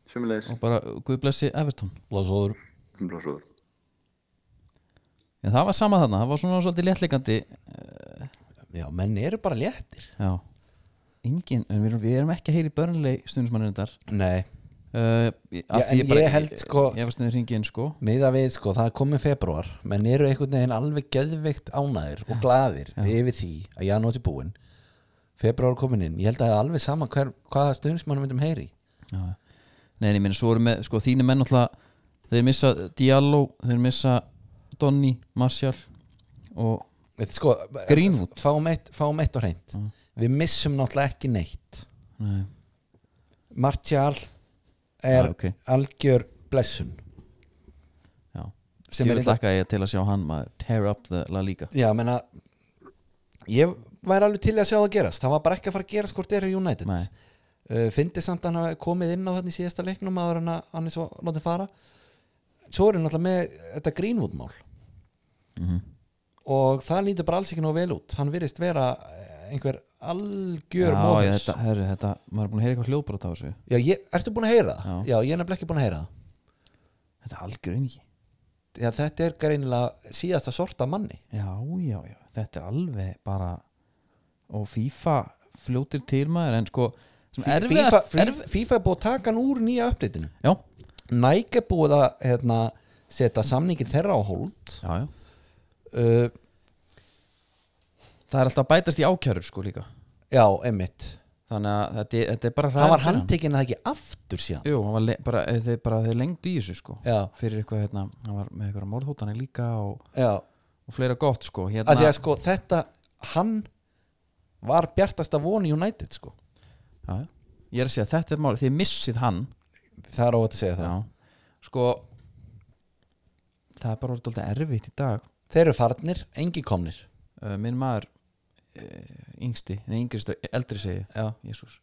S5: Sumulegis
S1: og bara Guð blessi Everton
S2: Blásóður
S5: Blásúður
S1: Já, það var sama þarna, það var svona svolítið léttleikandi
S2: Já, menn eru bara léttir
S1: Já, engin, en við erum, við erum ekki að heyri börnleg stundismannir þar
S2: Nei,
S1: uh, af
S2: Já,
S1: því
S2: en ég held, sko-
S1: Ég var stundið hringin, sko
S2: miða við sko, það er komið februar menn eru einhvern veginn alveg geðveikt ánæðir og glaðir yfir því að janúar er búinn februar komin inn, ég held að það er alveg sama hver, hvaða stundismannum myndum heyri
S1: Já. Nei, en ég meina, svo eru með, sko, þínu menn alltaf, þeir missa Diallo, þeir missa Donny, Martial og
S2: Við, sko,
S1: Greenwood.
S2: fáum eitt, fáum eitt og hreint við missum náttúrulega ekki neitt
S1: Nei,
S2: Martial er
S1: Ah, ok.
S2: algjör blessun
S1: já sem
S2: Sem er
S1: er
S2: reyndar-
S1: hlakka ég til að sjá hann maður tear up the La Liga
S2: já, menna ég væri alveg til í að sjá það gerast það var bara ekki að fara að gerast hvort er United
S1: Nei.
S2: uh, fyndi samt að hann hafi komið inn á þannig síðasta leiknum áður en að hann er svo látið fara svo er hann alltaf með þetta Greenwood-mál
S1: Mhm.
S2: og það lítur bara alls ekki nóg vel út hann virðist vera eh, einhver algjör
S1: Já, ég,
S2: móðis
S1: þetta, herri, þetta, maður er búin að heyra eitthvað hljóðbrot á þessu
S2: Já, ég, ertu búin að heyra það? Já,
S1: Já.
S2: ég er nefnilega ekki búin að heyra það
S1: Þetta er algjör aumingi
S2: Já, þetta er greinilega síðasta sorta manni
S1: Já, já, já, þetta er alveg bara og FIFA fljótir til maður en sko sem
S2: Fí-
S1: erfiðast
S2: fí-
S1: erf,
S2: FIFA er búið að taka hann úr nýja upplitinu
S1: Já,
S2: Nike er búið að hérna, setja samningin þeirra á hold
S1: já, já
S2: uh,
S1: Það er alltaf að bætast í ákjörur sko líka
S2: Já, einmitt
S1: Þannig að þetta, er- þetta er bara
S2: Hann
S1: hræðilegt
S2: var
S1: fyrir
S2: handtekinn að það ekki aftur síðan
S1: Jú, hann var le, bara, eh, þeir, bara þeir lengdu í þessu sko
S2: Já.
S1: fyrir eitthvað hérna, hann var með eitthvað morðhóttanir líka og,
S2: Já,
S1: og fleira gott sko hérna,
S2: að því að sko þetta hann var bjartasta von í United sko
S1: já, já. Ég er að segja, þetta er máli, þið missið hann
S2: Það er óvægt að segja það
S1: Já, sko það er bara orðið dálítið erfitt í dag
S2: Þeir eru farnir, engi komnir
S1: uh, minn maður uh, yngsti, nei yngristu, eldri segi
S2: Já,
S1: Jésús,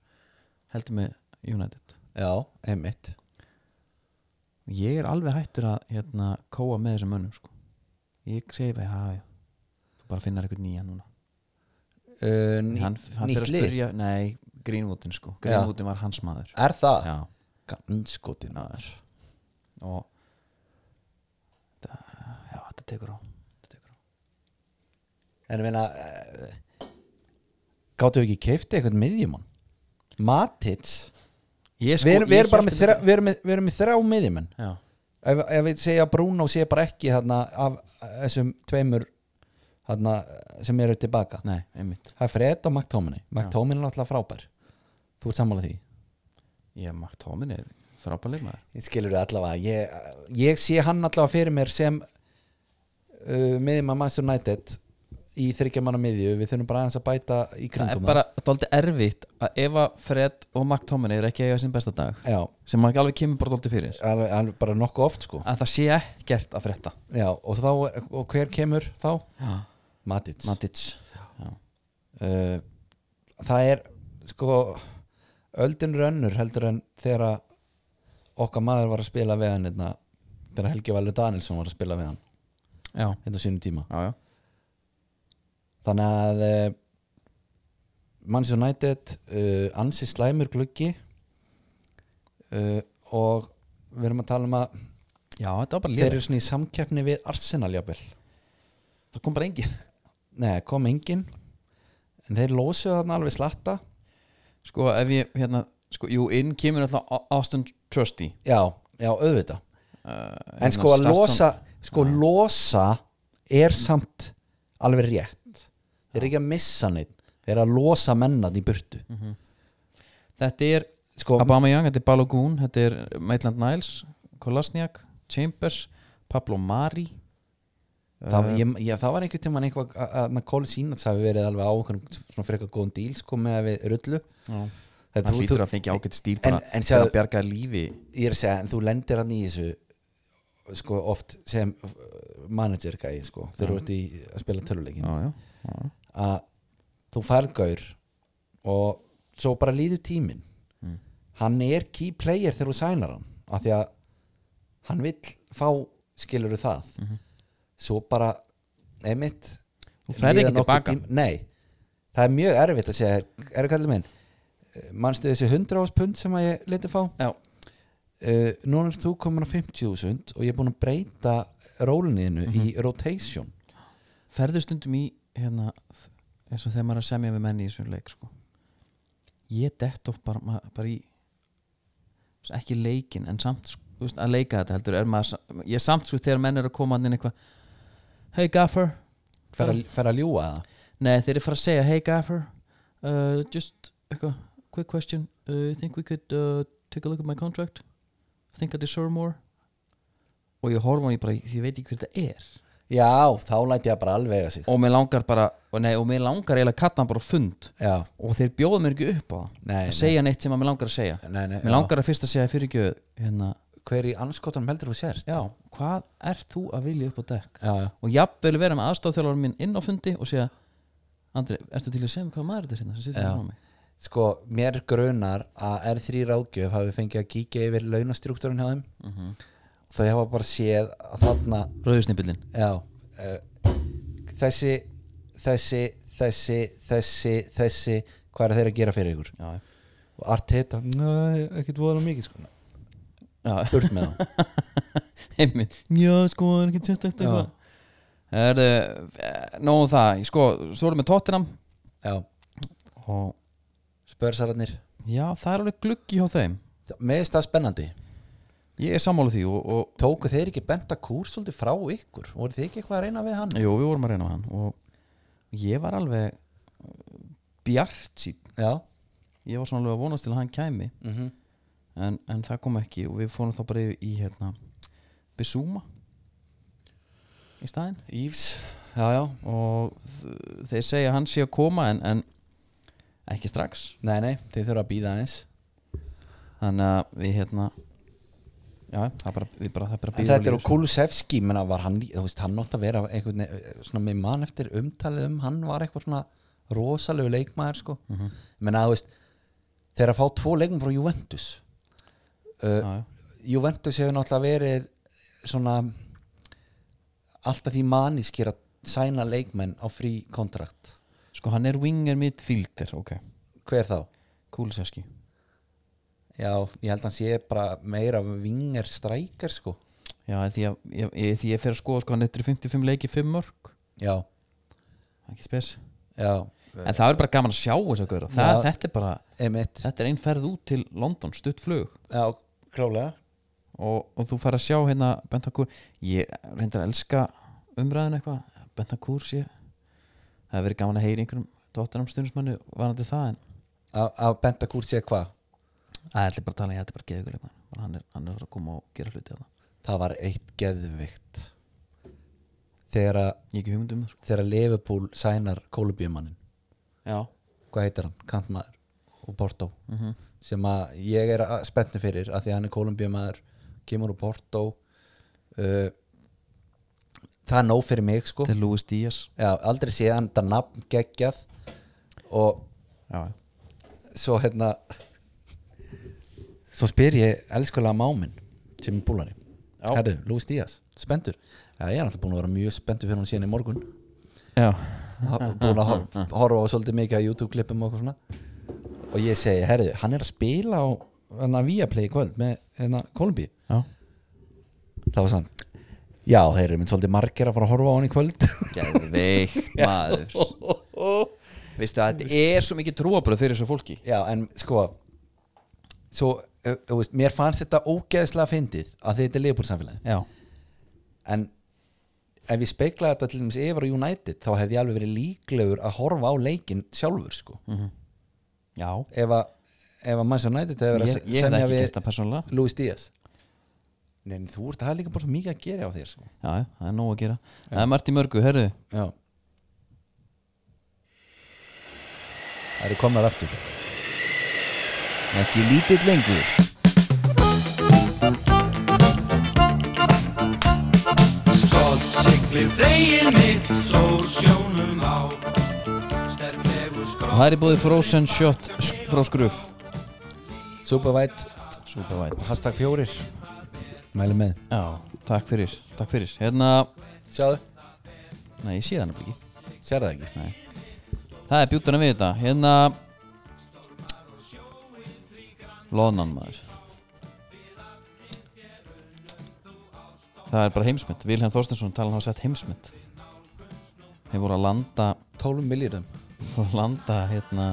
S1: heldur með United
S2: já einmitt
S1: ég er alveg hættur að hérna kóa með þessum mönnum sko ég segi bara, já, já þú bara finnar eitthvað nýja núna
S2: uh, ný,
S1: hann, hann
S2: Nýtt
S1: fyrir að
S2: lið
S1: spyrja, nei, Greenwoodin sko Greenwoodin var hans maður
S2: Er það?
S1: já,
S2: Ganskotin maður
S1: og það, já, þetta tekur á þetta tekur á
S2: En ég meina eh, Gáttu ekki keifti eitthvað miðjumann Matits
S1: ég, sko,
S2: Við erum,
S1: ég
S2: við erum bara
S1: hélt
S2: með
S1: þetta-
S2: þrjá, við erum með, við erum með þrjá miðjumenn
S1: já,
S2: ef, ef við segja að Bruno sé bara ekki þarna, af þessum tveimur þarna, sem eru tilbaka
S1: nei, einmitt
S2: Það er Fred og McTominay McTominay er náttúrulega frábær Þú ert sammála því
S1: Ég Mark Tómin er frábær leikmaður
S2: Ég skilur þið allavega ég, ég sé hann allavega fyrir mér sem uh, miðjumann Manchester United í þryggjamanna miðju Við þurfum bara aðeins að bæta í
S1: Það er
S2: kringum
S1: bara dálítið erfitt að ef að Fred og Mark Tómin er ekki að eiga sinn besta dag
S2: það. Já,
S1: sem maður alveg kemur bara dálítið fyrir
S2: alveg, alveg bara nokkuð oft sko
S1: að það sé ekkert að frétta
S2: Já, og, þá, og hver kemur þá? Matits
S1: Matic Já.
S2: uh, Það er sko öldin rönnur heldur en þegar að okkar maður var að spila við hann hérna, þegar Helgi Valur Danielsson var að spila við hann
S1: Já.
S2: hérna á sínum tíma
S1: Já, já.
S2: þannig að uh, Manchester United uh, ansi slæmur gluggi uh, og við erum að tala um að
S1: já, þetta var bara
S2: þeir
S1: lýður
S2: eru svona í samkeppni við Arsenal jafnvel
S1: Það kom bara engin
S2: Nei, kom engin En þeir lósuðu þarna alveg slatta
S1: Sko, ef ég, hérna, sko, jú, inn kemur alltaf Austin Trusty
S2: Já, já, auðvita
S1: uh,
S2: En sko að losa Sko losa er samt Alveg rétt Þeir eru ekki að missa neitt Þeir eru að losa mennan í burtu
S1: Þetta er
S2: Sko,
S1: Abama Young, þetta er Balogun, þetta er Maitland Niles Kolasniak Chambers Pablo Mari
S2: Það,
S1: Eh.
S2: ég, ég, það var einhvern tímann eitthvað að- að McCall Sínats hafi verið alveg á einhvern svona frekar góðan díl sko með að við rullu
S1: Já.
S2: Það
S1: hann
S2: þú-
S1: hlýtur
S2: þú-
S1: að fengi ágætt stíl
S2: En-
S1: bara
S2: en
S1: til
S2: sjáðu-
S1: að bjarga lífi
S2: Ég er að segja, en þú lendir hann í þessu sko oft sem uh, manager gæi sko þegar þú ert í að spila töluleikin
S1: já, já, já.
S2: að þú færð gaur og svo bara líður tíminn
S1: Mm.
S2: hann er key player þegar þú sænar hann af því að hann vill fá skilur það svo bara einmitt
S1: Mhm. Þú ferð
S2: líða
S1: ekki
S2: nokkur
S1: tilbaka.
S2: tím- nei, það er mjög erfitt að segja er kallið minn, manstu þessi 100 ás pund sem að ég leti fá
S1: Já.
S2: uh, núna er þú komin á 50.000 og ég er búin að breyta róliniðinu
S1: Mhm.
S2: í rotation
S1: ferðu stundum í hérna, þ- eins og þegar maður er að semja við menni í þessum leik sko. ég dett of bara, ma- bara í þú veist, ekki leikin en samt sko, þú veist, að leika þetta heldur er maður, sa- ég samt sko þegar menn eru að koma þarna inn eitthvað hey gaffer
S2: fer
S1: Ah.
S2: að, fer að ljúga það
S1: nei þeir eru að fara að segja hey gaffer uh, just eitthvað quick question uh, you think we could uh, take a look at my contract I think I deserve more og ég horfa á hann ég bara ég veit ekki hver þetta er
S2: Já, þá læti ég bara alveg að sig
S1: og mér langar bara og, nei, og mér langar eiginlega að katta hann bara á fund
S2: Já,
S1: og þeir bjóða mér ekki upp á
S2: Nei,
S1: það
S2: nei.
S1: að segja neitt sem að mér langar að segja
S2: nei, nei
S1: mér langar að fyrst að segja fyrir ekki hérna,
S2: Hver í anskotanum heldur þú sért?
S1: já, hvað ert þú að vilja upp á dekk
S2: já, já.
S1: og jafnvel vera með aðstofþjálfur minn inn á fundi og segja Andri, ertu til að segja mér hvað maður þetta er hérna sem situr
S2: Já.
S1: hérna á mig
S2: Sko, mér grunar að R3 ráðgjöf hafi fengið að kíkja yfir launastruktúrin hjá þeim Þau hafa bara séð að þarna
S1: Rauðusnippillin
S2: Já uh, Þessi, þessi, þessi, þessi, þessi Hvað er þeir að gera fyrir ykkur?
S1: já,
S2: Og Arteta, nei, ekkert voðalega mikið sko
S1: já,
S2: Burt með það
S1: einmitt já, sko, það er ekki sérstækt
S2: Já.
S1: eitthvað Það er, nóðum það, sko, svo erum við tóttinam
S2: Já,
S1: og
S2: spörsararnir
S1: já, það er alveg gluggi hjá þeim
S2: Með þess það spennandi
S1: Ég er sammála því og, og
S2: Tóku þeir ekki benda kúr svolítið frá ykkur? Voru þið ekki eitthvað að reyna við hann?
S1: Jú, við vorum að reyna á hann og ég var alveg bjart sín
S2: Já,
S1: ég var svona alveg að vonast til að hann kæmi
S2: mm
S1: en, en það kom ekki og við fórum þá bara yfir í hérna Bissúma í staðinn
S2: Ífs Já, já,
S1: og þ- þeir segja að hann sé að koma en, en ekki strax
S2: nei, nei, þeir þurfa að býða aðeins
S1: þannig að við hérna já, það bara, við bara, það bara
S2: En
S1: býður
S2: þetta er
S1: líður
S2: á Kulusevski, menna var hann, lí- þú veist, hann átti að vera einhvern veginn, eh, svona með mann eftir umtalið um, hann var eitthvað svona rosalegu leikmaður, sko Menna, þú veist, þeir að fá tvo leikmaður frá Juventus
S1: svo.
S2: uh,
S1: Já, já.
S2: Juventus hefur náttúrulega verið svona alltaf því manískir að sæna leikmenn á frí kontrakt
S1: sko hann er winger midfielder ok,
S2: Hver þá?
S1: Kuliseski
S2: Já, ég held að hann sé bara meira vingar strækar, sko
S1: já, því að ég, ég, því ég fer að skoða sko hann eftir 55 leiki 5 mörg
S2: Já,
S1: Það er ekki spes
S2: já
S1: en það er bara gaman að sjá þess að gauðra
S2: Já.
S1: þetta er bara,
S2: Emitt
S1: þetta er einn ferð út til London, stutt flug
S2: Já, klálega
S1: og, og þú fær að sjá hérna Bentancur, ég reyndar að elska umræðin eitthvað, Bentancur sé það hefur verið gaman að heyra í einhverjum dóttunum stundismannu varandi það en
S2: Að- Að benda kúr sé hvað
S1: það er bara að tala, ég ætti bara að geða ykkur leikmann. Bara hann er, hann er að koma og gera hluti þarna
S2: Það var eitt geðvikt Þegar að
S1: ég hef ekki hugmyndum sko.
S2: Þegar að Liverpool sænar Kólubjumannin
S1: já,
S2: Hvað heitir hann? Kantmaður og Porto Sem að ég er að- spenntur fyrir að Því að hann er Kólubjumaður Kemur úr Porto uh, Það er nóg fyrir mig sko
S1: til Louis Díaz
S2: Já, aldrei séð hann þetta nafn geggjað Og
S1: já, já.
S2: svo hérna svo spyr ég elskulega máminn sem er búlari
S1: Já.
S2: Herðu, Lúis Díaz, spendur Já, ég er alltaf búin að vera mjög spendur fyrir hún síðan í morgun
S1: já,
S2: Ha- búin að hor- horfa á svolítið mikið að YouTube klippum og eitthvað svona og ég segi, herðu, hann er að spila á hérna Viaplay í kvöld með hérna Kolumbi
S1: já.
S2: það var sann Já, þeir eru minn svolítið margir að fara að horfa á hann í kvöld
S1: geðveikt maður veistu að þetta er svo mikið trúabröð fyrir þessu fólki
S2: Já, en sko svo, ö- þú veist, mér fannst þetta ógeðslega fyndið að þetta er Leopold samfélagi
S1: já,
S2: en ef ég speiklaði þetta til dæmis yfir á United þá hefði ég alveg verið líklegur að horfa á leikin sjálfur sko
S1: Mm. já
S2: ef að, ef að Manchester United hefði verið
S1: ég,
S2: að
S1: ég
S2: se-
S1: hef
S2: semja
S1: ekki gert það
S2: við
S1: persónulega
S2: Luis Díaz Nei, en þú ert það er líka bara svo mikið að gera á þér sko.
S1: já, já, það er nóg að gera það er margt í mörgu, herðu
S2: Já Það eru komnar aftur
S1: ekki lítill lengur
S6: Stolt siglir vegið mitt, sól sjónum á Sterk hefur
S1: og það er búið Frozen Shot sk- frá skruf
S2: Supervætt Supervætt Hashtag fjórir Mæli með
S1: já, takk fyrir, takk fyrir hérna,
S2: Sjáðu
S1: nei, ég sé það nefnilega ekki
S2: Sér það ekki
S1: það er bjútana við þetta, hérna loðnan maður það er bara heimsmynd Vilhelm Þorstensson talan hafa sett heimsmynd þeir voru að landa
S2: 12 miljardum
S1: og landa hérna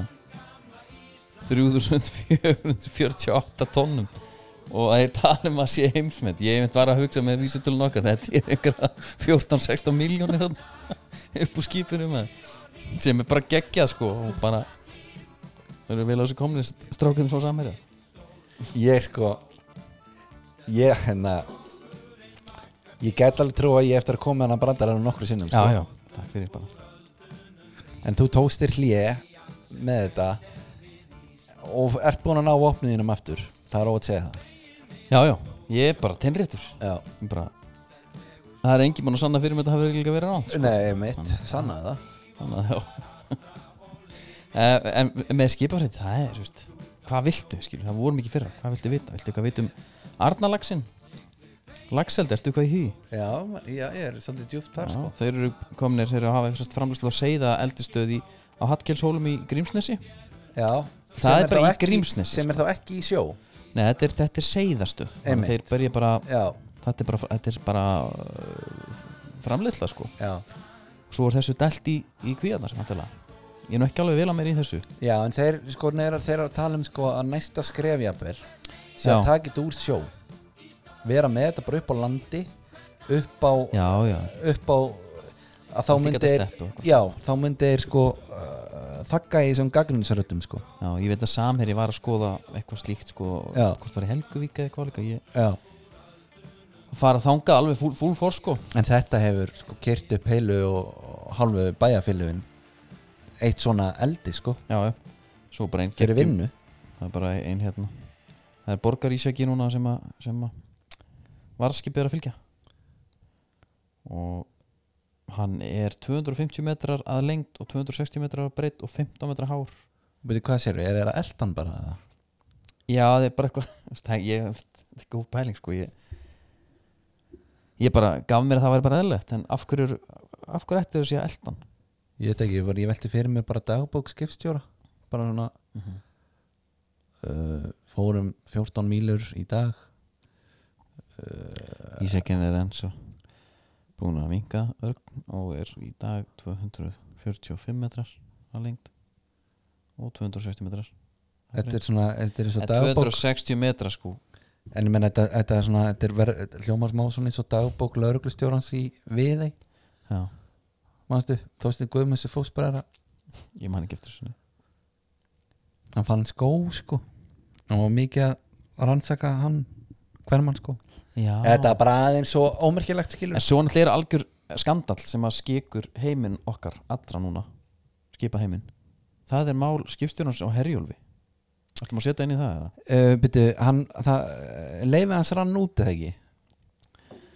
S1: 3448 tónnum og það er tala um að sé heimsmynd ég einmitt var að hugsa með vísutölun okkar þetta er einhverja 14-16 miljónir þarna upp úr skipinu með sem er bara geggjað sko og bara það eru vel á þessu komni strákinn frá samherja
S2: Ég sko Ég hérna Ég get alveg trú að ég eftir að koma með hann að brandar hann nokkru sinnum sko.
S1: já, takk fyrir bara
S2: En þú tókstir hlje með þetta og ert búin að ná opniðinum aftur Það er óvægt að segja það
S1: já, já, ég er bara tenréttur
S2: Já
S1: Ég bara það er engin mann að sanna fyrir mig að þetta hafi líka verið ránt
S2: Nei, mitt, sannaði það
S1: þannig að já Eh, en með skipafrætt það er, þú veist, hvað viltu skilur, það vorum ekki fyrra, hvað viltu vita viltu eitthvað vita um Arnalaxin Laxeld, ertu eitthvað í því
S2: Já, já, ég er svolítið djúft þar sko.
S1: já, þeir eru komnir, þeir eru að hafa eitthvað framlýslu á seiða eldistöði á Hallkelshólum í Grímsnesi nei,
S2: Já
S1: Það
S2: Sem
S1: er bara
S2: þá
S1: í Grímsnesi, sko.
S2: Sem er þá ekki í sjó
S1: þetta er, þetta er seiðastöð þannig að
S2: Einmitt.
S1: þeir berja bara,
S2: Já,
S1: þetta er bara, þetta er bara uh, framlýsla sko
S2: já
S1: svo er þessu delt í, í kvíðarnar náttúrulega. ég er nú ekki alveg vel að mér í þessu
S2: Já, en þeir sko neðar þeir eru að tala um sko að næsta skrefjafir sem
S1: Já.
S2: að taka þetta úr sjó vera með þetta bara upp á landi upp á,
S1: já, já,
S2: upp á að þá
S1: Allt í
S2: myndi
S1: gata
S2: þeir-
S1: sleppu og eitthvað.
S2: já, þá myndi þeir sko uh, þakka í þessum gagnrinsaröldum sko
S1: Já, ég veit að Samherji var að skoða eitthvað slíkt sko,
S2: Já.
S1: hvort var í Helguvík eða eitthvað líka, ég
S2: já.
S1: að fara þangað alveg fúl, fúl fór sko
S2: en þetta hefur sko kert upp heilu og og hálfu bæjarfélugin eitt svona eldi sko
S1: Já, já, svo bara einn
S2: fyrir
S1: geggjum-
S2: vinnu
S1: Það er bara einn hérna Það er borgarísjaki núna sem að, sem að varskipið er að fylgja og hann er 250 metrar að lengd og 260 metrar að breytt og 15 metrar hár
S2: Byrju, hvað sérðu, er það eldan bara eða?
S1: Já, það er bara eitthvað þú veist, það- ég þetta er góð pæling sko ég, ég bara gaf mér að það væri bara eðlilegt en af hverju, eru- af hverju ætti þessi að eldan
S2: ég veit ekki, ég, bara, ég velti fyrir mér bara dagbók skipstjóra bara svona uh, fórum 14 mílur í dag
S1: Ísækinn er eins og búin að vinga örgn og er í dag 245 metrar að lengd og 260 metrar að
S2: þetta er
S1: breidd.
S2: svona, þetta er eins og
S1: En
S2: dagbók
S1: 260 metra sko
S2: en ég menn, þetta, þetta er svona, þetta er ver, hljómar smá svona eins og dagbók lauruglustjórans í viðei,
S1: Já,
S2: manstu Þorstein Guðmunds er fósbræðara,
S1: ég man ekki eftir svona
S2: hann fann skó sko, hann var mikið að rannsaka hann, hver mann sko
S1: Já,
S2: þetta er bara aðeins svo ómerkilegt skilur
S1: en svo náttúrulega er algjör skandall sem að skekur heiminn okkar allra núna skipa heiminn það er mál skipstjórnars á Herjólfi Ætlum að setja inn í það eða?
S2: uh, byrju, hann það, leiði hans rann út eða ekki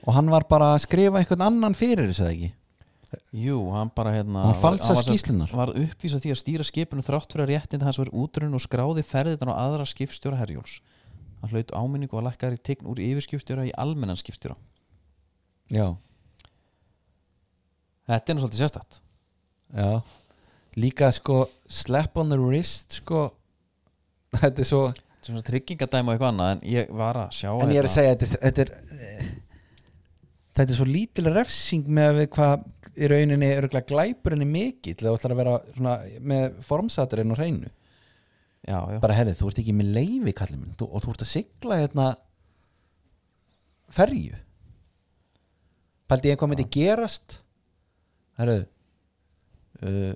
S2: og hann var bara að skrifa einhvern annan fyrir þessu eða ekki
S1: Jú, hann bara hérna
S2: Hann falsar
S1: var- var-
S2: skýrslurnar.
S1: Var uppvísa því að stýra skipinu þrátt fyrir að réttinda hans verið útrunn og skráði ferðitan á aðra skipstjóra Herjóls Hann hlaut áminningu og lækkar í tign úr yfirskipstjóra í almennan skipstjóra
S2: já,
S1: Þetta er nú svolítið sérstætt
S2: já líka sko slap on the wrist sko þetta er svo
S1: Þetta er svona tryggingadæmi og eitthvað annað en ég var að sjá
S2: en ég
S1: hérna-
S2: er að segja þetta, er- þetta er eh, þetta er svo lítil refsing með við hvað í rauninni örgulega glæpurinn er mikill þegar þú ætlar að vera svona, með formsaturinn og hreinu
S1: Já, já,
S2: bara herrið, þú ert ekki með leifi kallið minn þú, og þú ert að sigla hérna ferju pældi ég hvað myndi gerast herrið uh,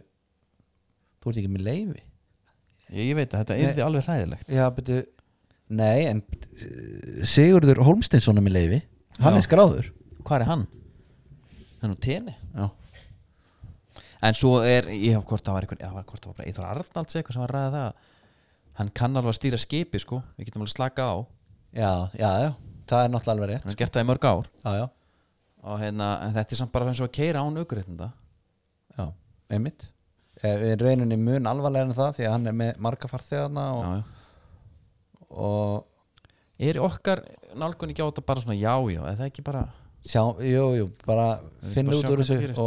S2: þú ert ekki með leifi
S1: ég, ég veit að þetta
S2: Nei.
S1: er alveg hræðilegt
S2: já, betur nei, en uh, Sigurður Holmsteinsson er með leifi Hann er skráður
S1: Hvar er hann? Hann er úr tenni
S2: Já.
S1: En svo er, ég hef hvort það var einhvern, eða var hvort það var bara Eithor Arnalds eitthvað sem var að ræða það Hann kann alveg að stýra skipi sko Við getum alveg slaka á Hann
S2: Já, já, já, það er náttúrulega alveg rétt
S1: har gert það í mörg ár
S2: Já, já,
S1: Og hérna, en þetta er samt bara eins og að keira án aukréttinda
S2: já, einmitt Eh, Við rauninni mun alvarlega en það því að hann er með marga farþegarna og,
S1: Já, já
S2: og
S1: Er okkar nálgun ekki á þetta bara svona já, já Er það ekki bara
S2: sjá, jú, jú, bara finna
S1: bara
S2: út
S1: sjá hvað
S2: úr þessu
S1: gerist.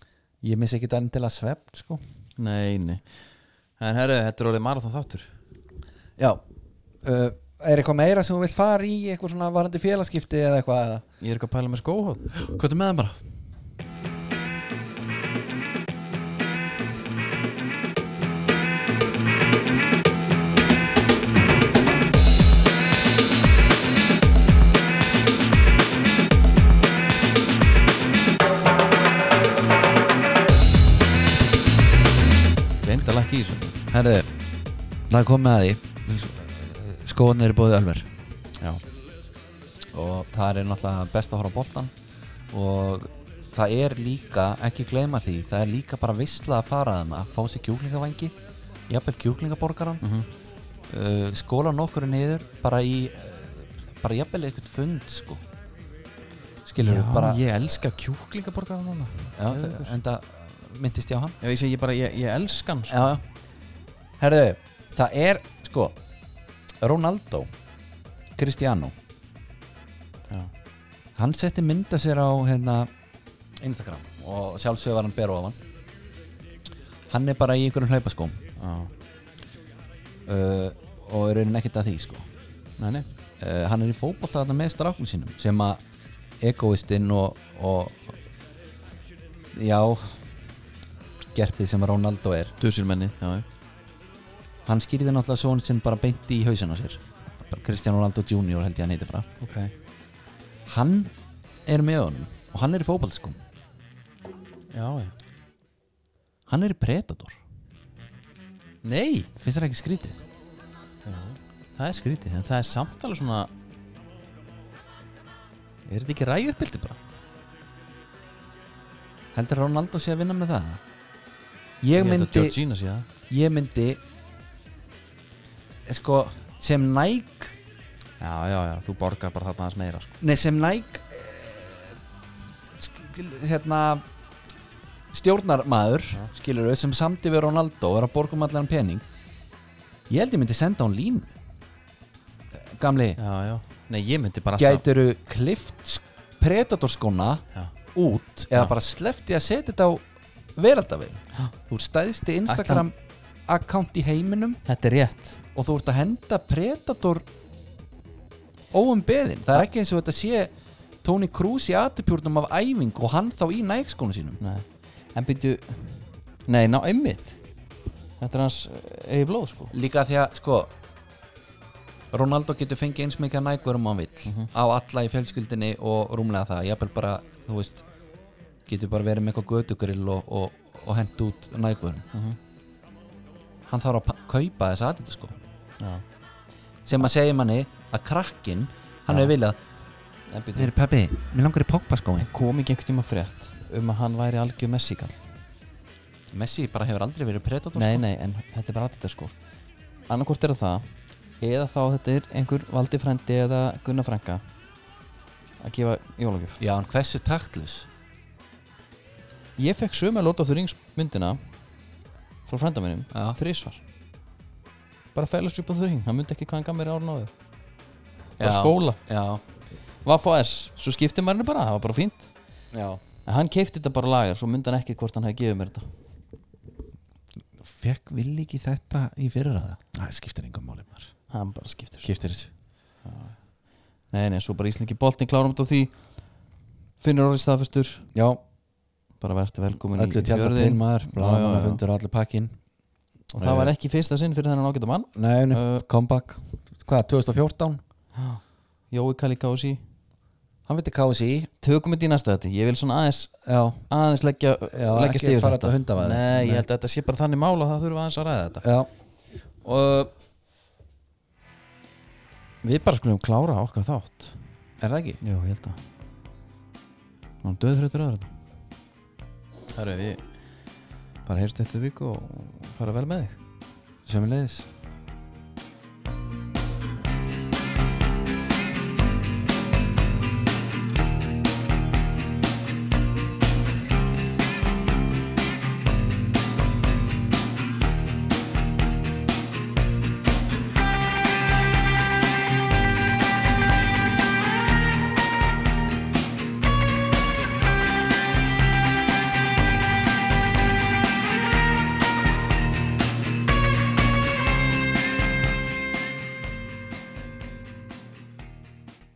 S2: og ég missi ekki þannig til að svepp sko.
S1: Nei, nei En herru, þetta er orðið marathon þáttur
S2: Já, uh, er eitthvað meira sem þú vilt fara í eitthvað svona varandi félagskipti eða eitthvað eða?
S1: Ég er ekki að pæla með skóhótt
S2: Hvað er með það bara?
S1: Reynd að lakka í þessu
S2: Herðu, það er komið að því Skóðan eru búið ölver
S1: Já.
S2: Og það er náttúrulega best að horfa á boltan Og það er líka, ekki gleyma því Það er líka bara visla að fara þeim Að fá sér kjúklingavængi Jafnvel kjúklingaborgaran
S1: Mhm.
S2: mm uh, Skóla nokkur niður Bara í, uh, bara jafnvel eitthvað fund sko Skilur
S1: Já,
S2: við bara
S1: ég elska kjúklingaborgar Já,
S2: já, En það myndist ég á hann
S1: ég segi ég bara, ég, ég elska hann sko.
S2: Já, já Herðu, það er, sko Ronaldo Cristiano
S1: Já.
S2: Hann setti mynda sér á hérna, Instagram og sjálfsögur var hann beru af hann Hann er bara í einhverjum hlaupaskóm
S1: Já,
S2: uh, og er raunin ekkert að því, sko
S1: nei, nei
S2: uh, Hann er í fótbolta þarna með stráknum sínum sem að egoistinn og, og já gerpið sem Ronaldo er
S1: Dusilmenni, já, já
S2: hann skýrði náttúrulega svona sinn bara beint í hausin á sér Bara Cristiano Ronaldo Junior held ég hann heiti bara
S1: Ok
S2: hann er með honum og hann er í sko. fótballskum
S1: Já, já
S2: hann er í Predator
S1: Nei,
S2: finnst það ekki skrítið?
S1: það er skrítið en það er samt alveg svona Er þetta ekki ræju uppbildi bara?
S2: heldur Ronaldo sé að vinna með það? ég
S1: held að
S2: myndi
S1: Georgina sé það
S2: ég myndi eh, sko sem Nike
S1: Já, já, já, þú borgar bara þarna aðeins meira sko.
S2: nei sem Nike eh, sk- hérna stjórnarmaður skilur sem samti við Ronaldo og er að borga um allan pening ég held ég myndi senda hún lín gamli,
S1: Já, já Nei, ég myndi bara alltaf-
S2: gætiru klift predatorskóna
S1: Já.
S2: út eða
S1: Já.
S2: bara slefti að setja þetta á veraldavið þú ert stæðsti Instagram account í heiminum
S1: Þetta er rétt
S2: og þú ert að henda Predator óum beðin það er ekki eins og þetta sé Tony Cruz í atipjórnum af æfingu og hann þá í nægskónu sínum
S1: Nei. En byrju Nei, ná, einmitt Þetta er hans eigi blóð sko
S2: líka því að sko Ronaldo getur fengið eins mikið nægverum hann vill á alla í fjölskyldinni og rúmlega það, jafnvel bara þú veist, getur bara verið með eitthvað gödugrill og, og, og hent út nægverum hann þarf að pa- kaupa þess aðeins sko
S1: Já.
S2: sem að segja manni að krakkinn hann hefur viljað,
S1: En byrju
S2: heyri pabbi mér langar í Pogba skóin
S1: Kom ekki einhvern tíma frétt um að hann væri algjör messikall
S2: Messi bara hefur aldrei verið predator
S1: Nei,
S2: sko.
S1: nei, en þetta er bara aðeins sko Annarkvort er það Eða þá þetta er einhver valdi frændi eða Gunnar frænka Að gefa jólagjöf
S2: Já, en hversu taktlus
S1: Ég fekk sömu að lóta þurr ringsmyndina Frá frænda minnum
S2: Já.
S1: Þrísvar Bara fælast upp á þurr ring Hann myndi ekki hvað hann gaf mér árun áður Bara
S2: Já.
S1: skóla
S2: Já,
S1: Vaff og S Svo skipti maður henni bara Það var bara fínt
S2: já
S1: En hann keipti þetta bara lagar Svo myndi hann ekki hvort hann hefði gefið mér þetta
S2: Fekk vill ekki þetta í fyrirraða? Það skiptir engum máli maður
S1: Hann bara skiptir svo
S2: Skiptir þessu
S1: Nei, nei, svo bara Íslingi Boltin klárum þetta á því Finnur orðið staðfestur
S2: Já,
S1: Bara verður velkomin í
S2: öllu tjálta til
S1: fjörðin
S2: maður
S1: Já, já, já.
S2: Blaðmannafundur, allir pakkin
S1: og það var ekki fyrsta sinn fyrir þennan ágæta mann
S2: Eh, Nei, nei,
S1: Uh,
S2: comeback Hvað, 2014?
S1: Jói Kali Kási
S2: Hann veit ekki KSI
S1: tökum þetta í næsta þetta, ég vil svona aðeins
S2: Já,
S1: aðeins leggja,
S2: Já,
S1: leggja
S2: ekki
S1: stíður
S2: fara þetta hundavaði.
S1: Nei,
S2: Nei.
S1: ég held að þetta sé bara þannig mál og það þurfum við aðeins að ræða þetta
S2: já,
S1: og við bara skulum klára okkar þátt
S2: er það ekki?
S1: Já, ég held að Hún er döðþreyttur aðra þetta Það eru við bara heyrst eftir viku og fara vel með þig
S2: Sjömmulegis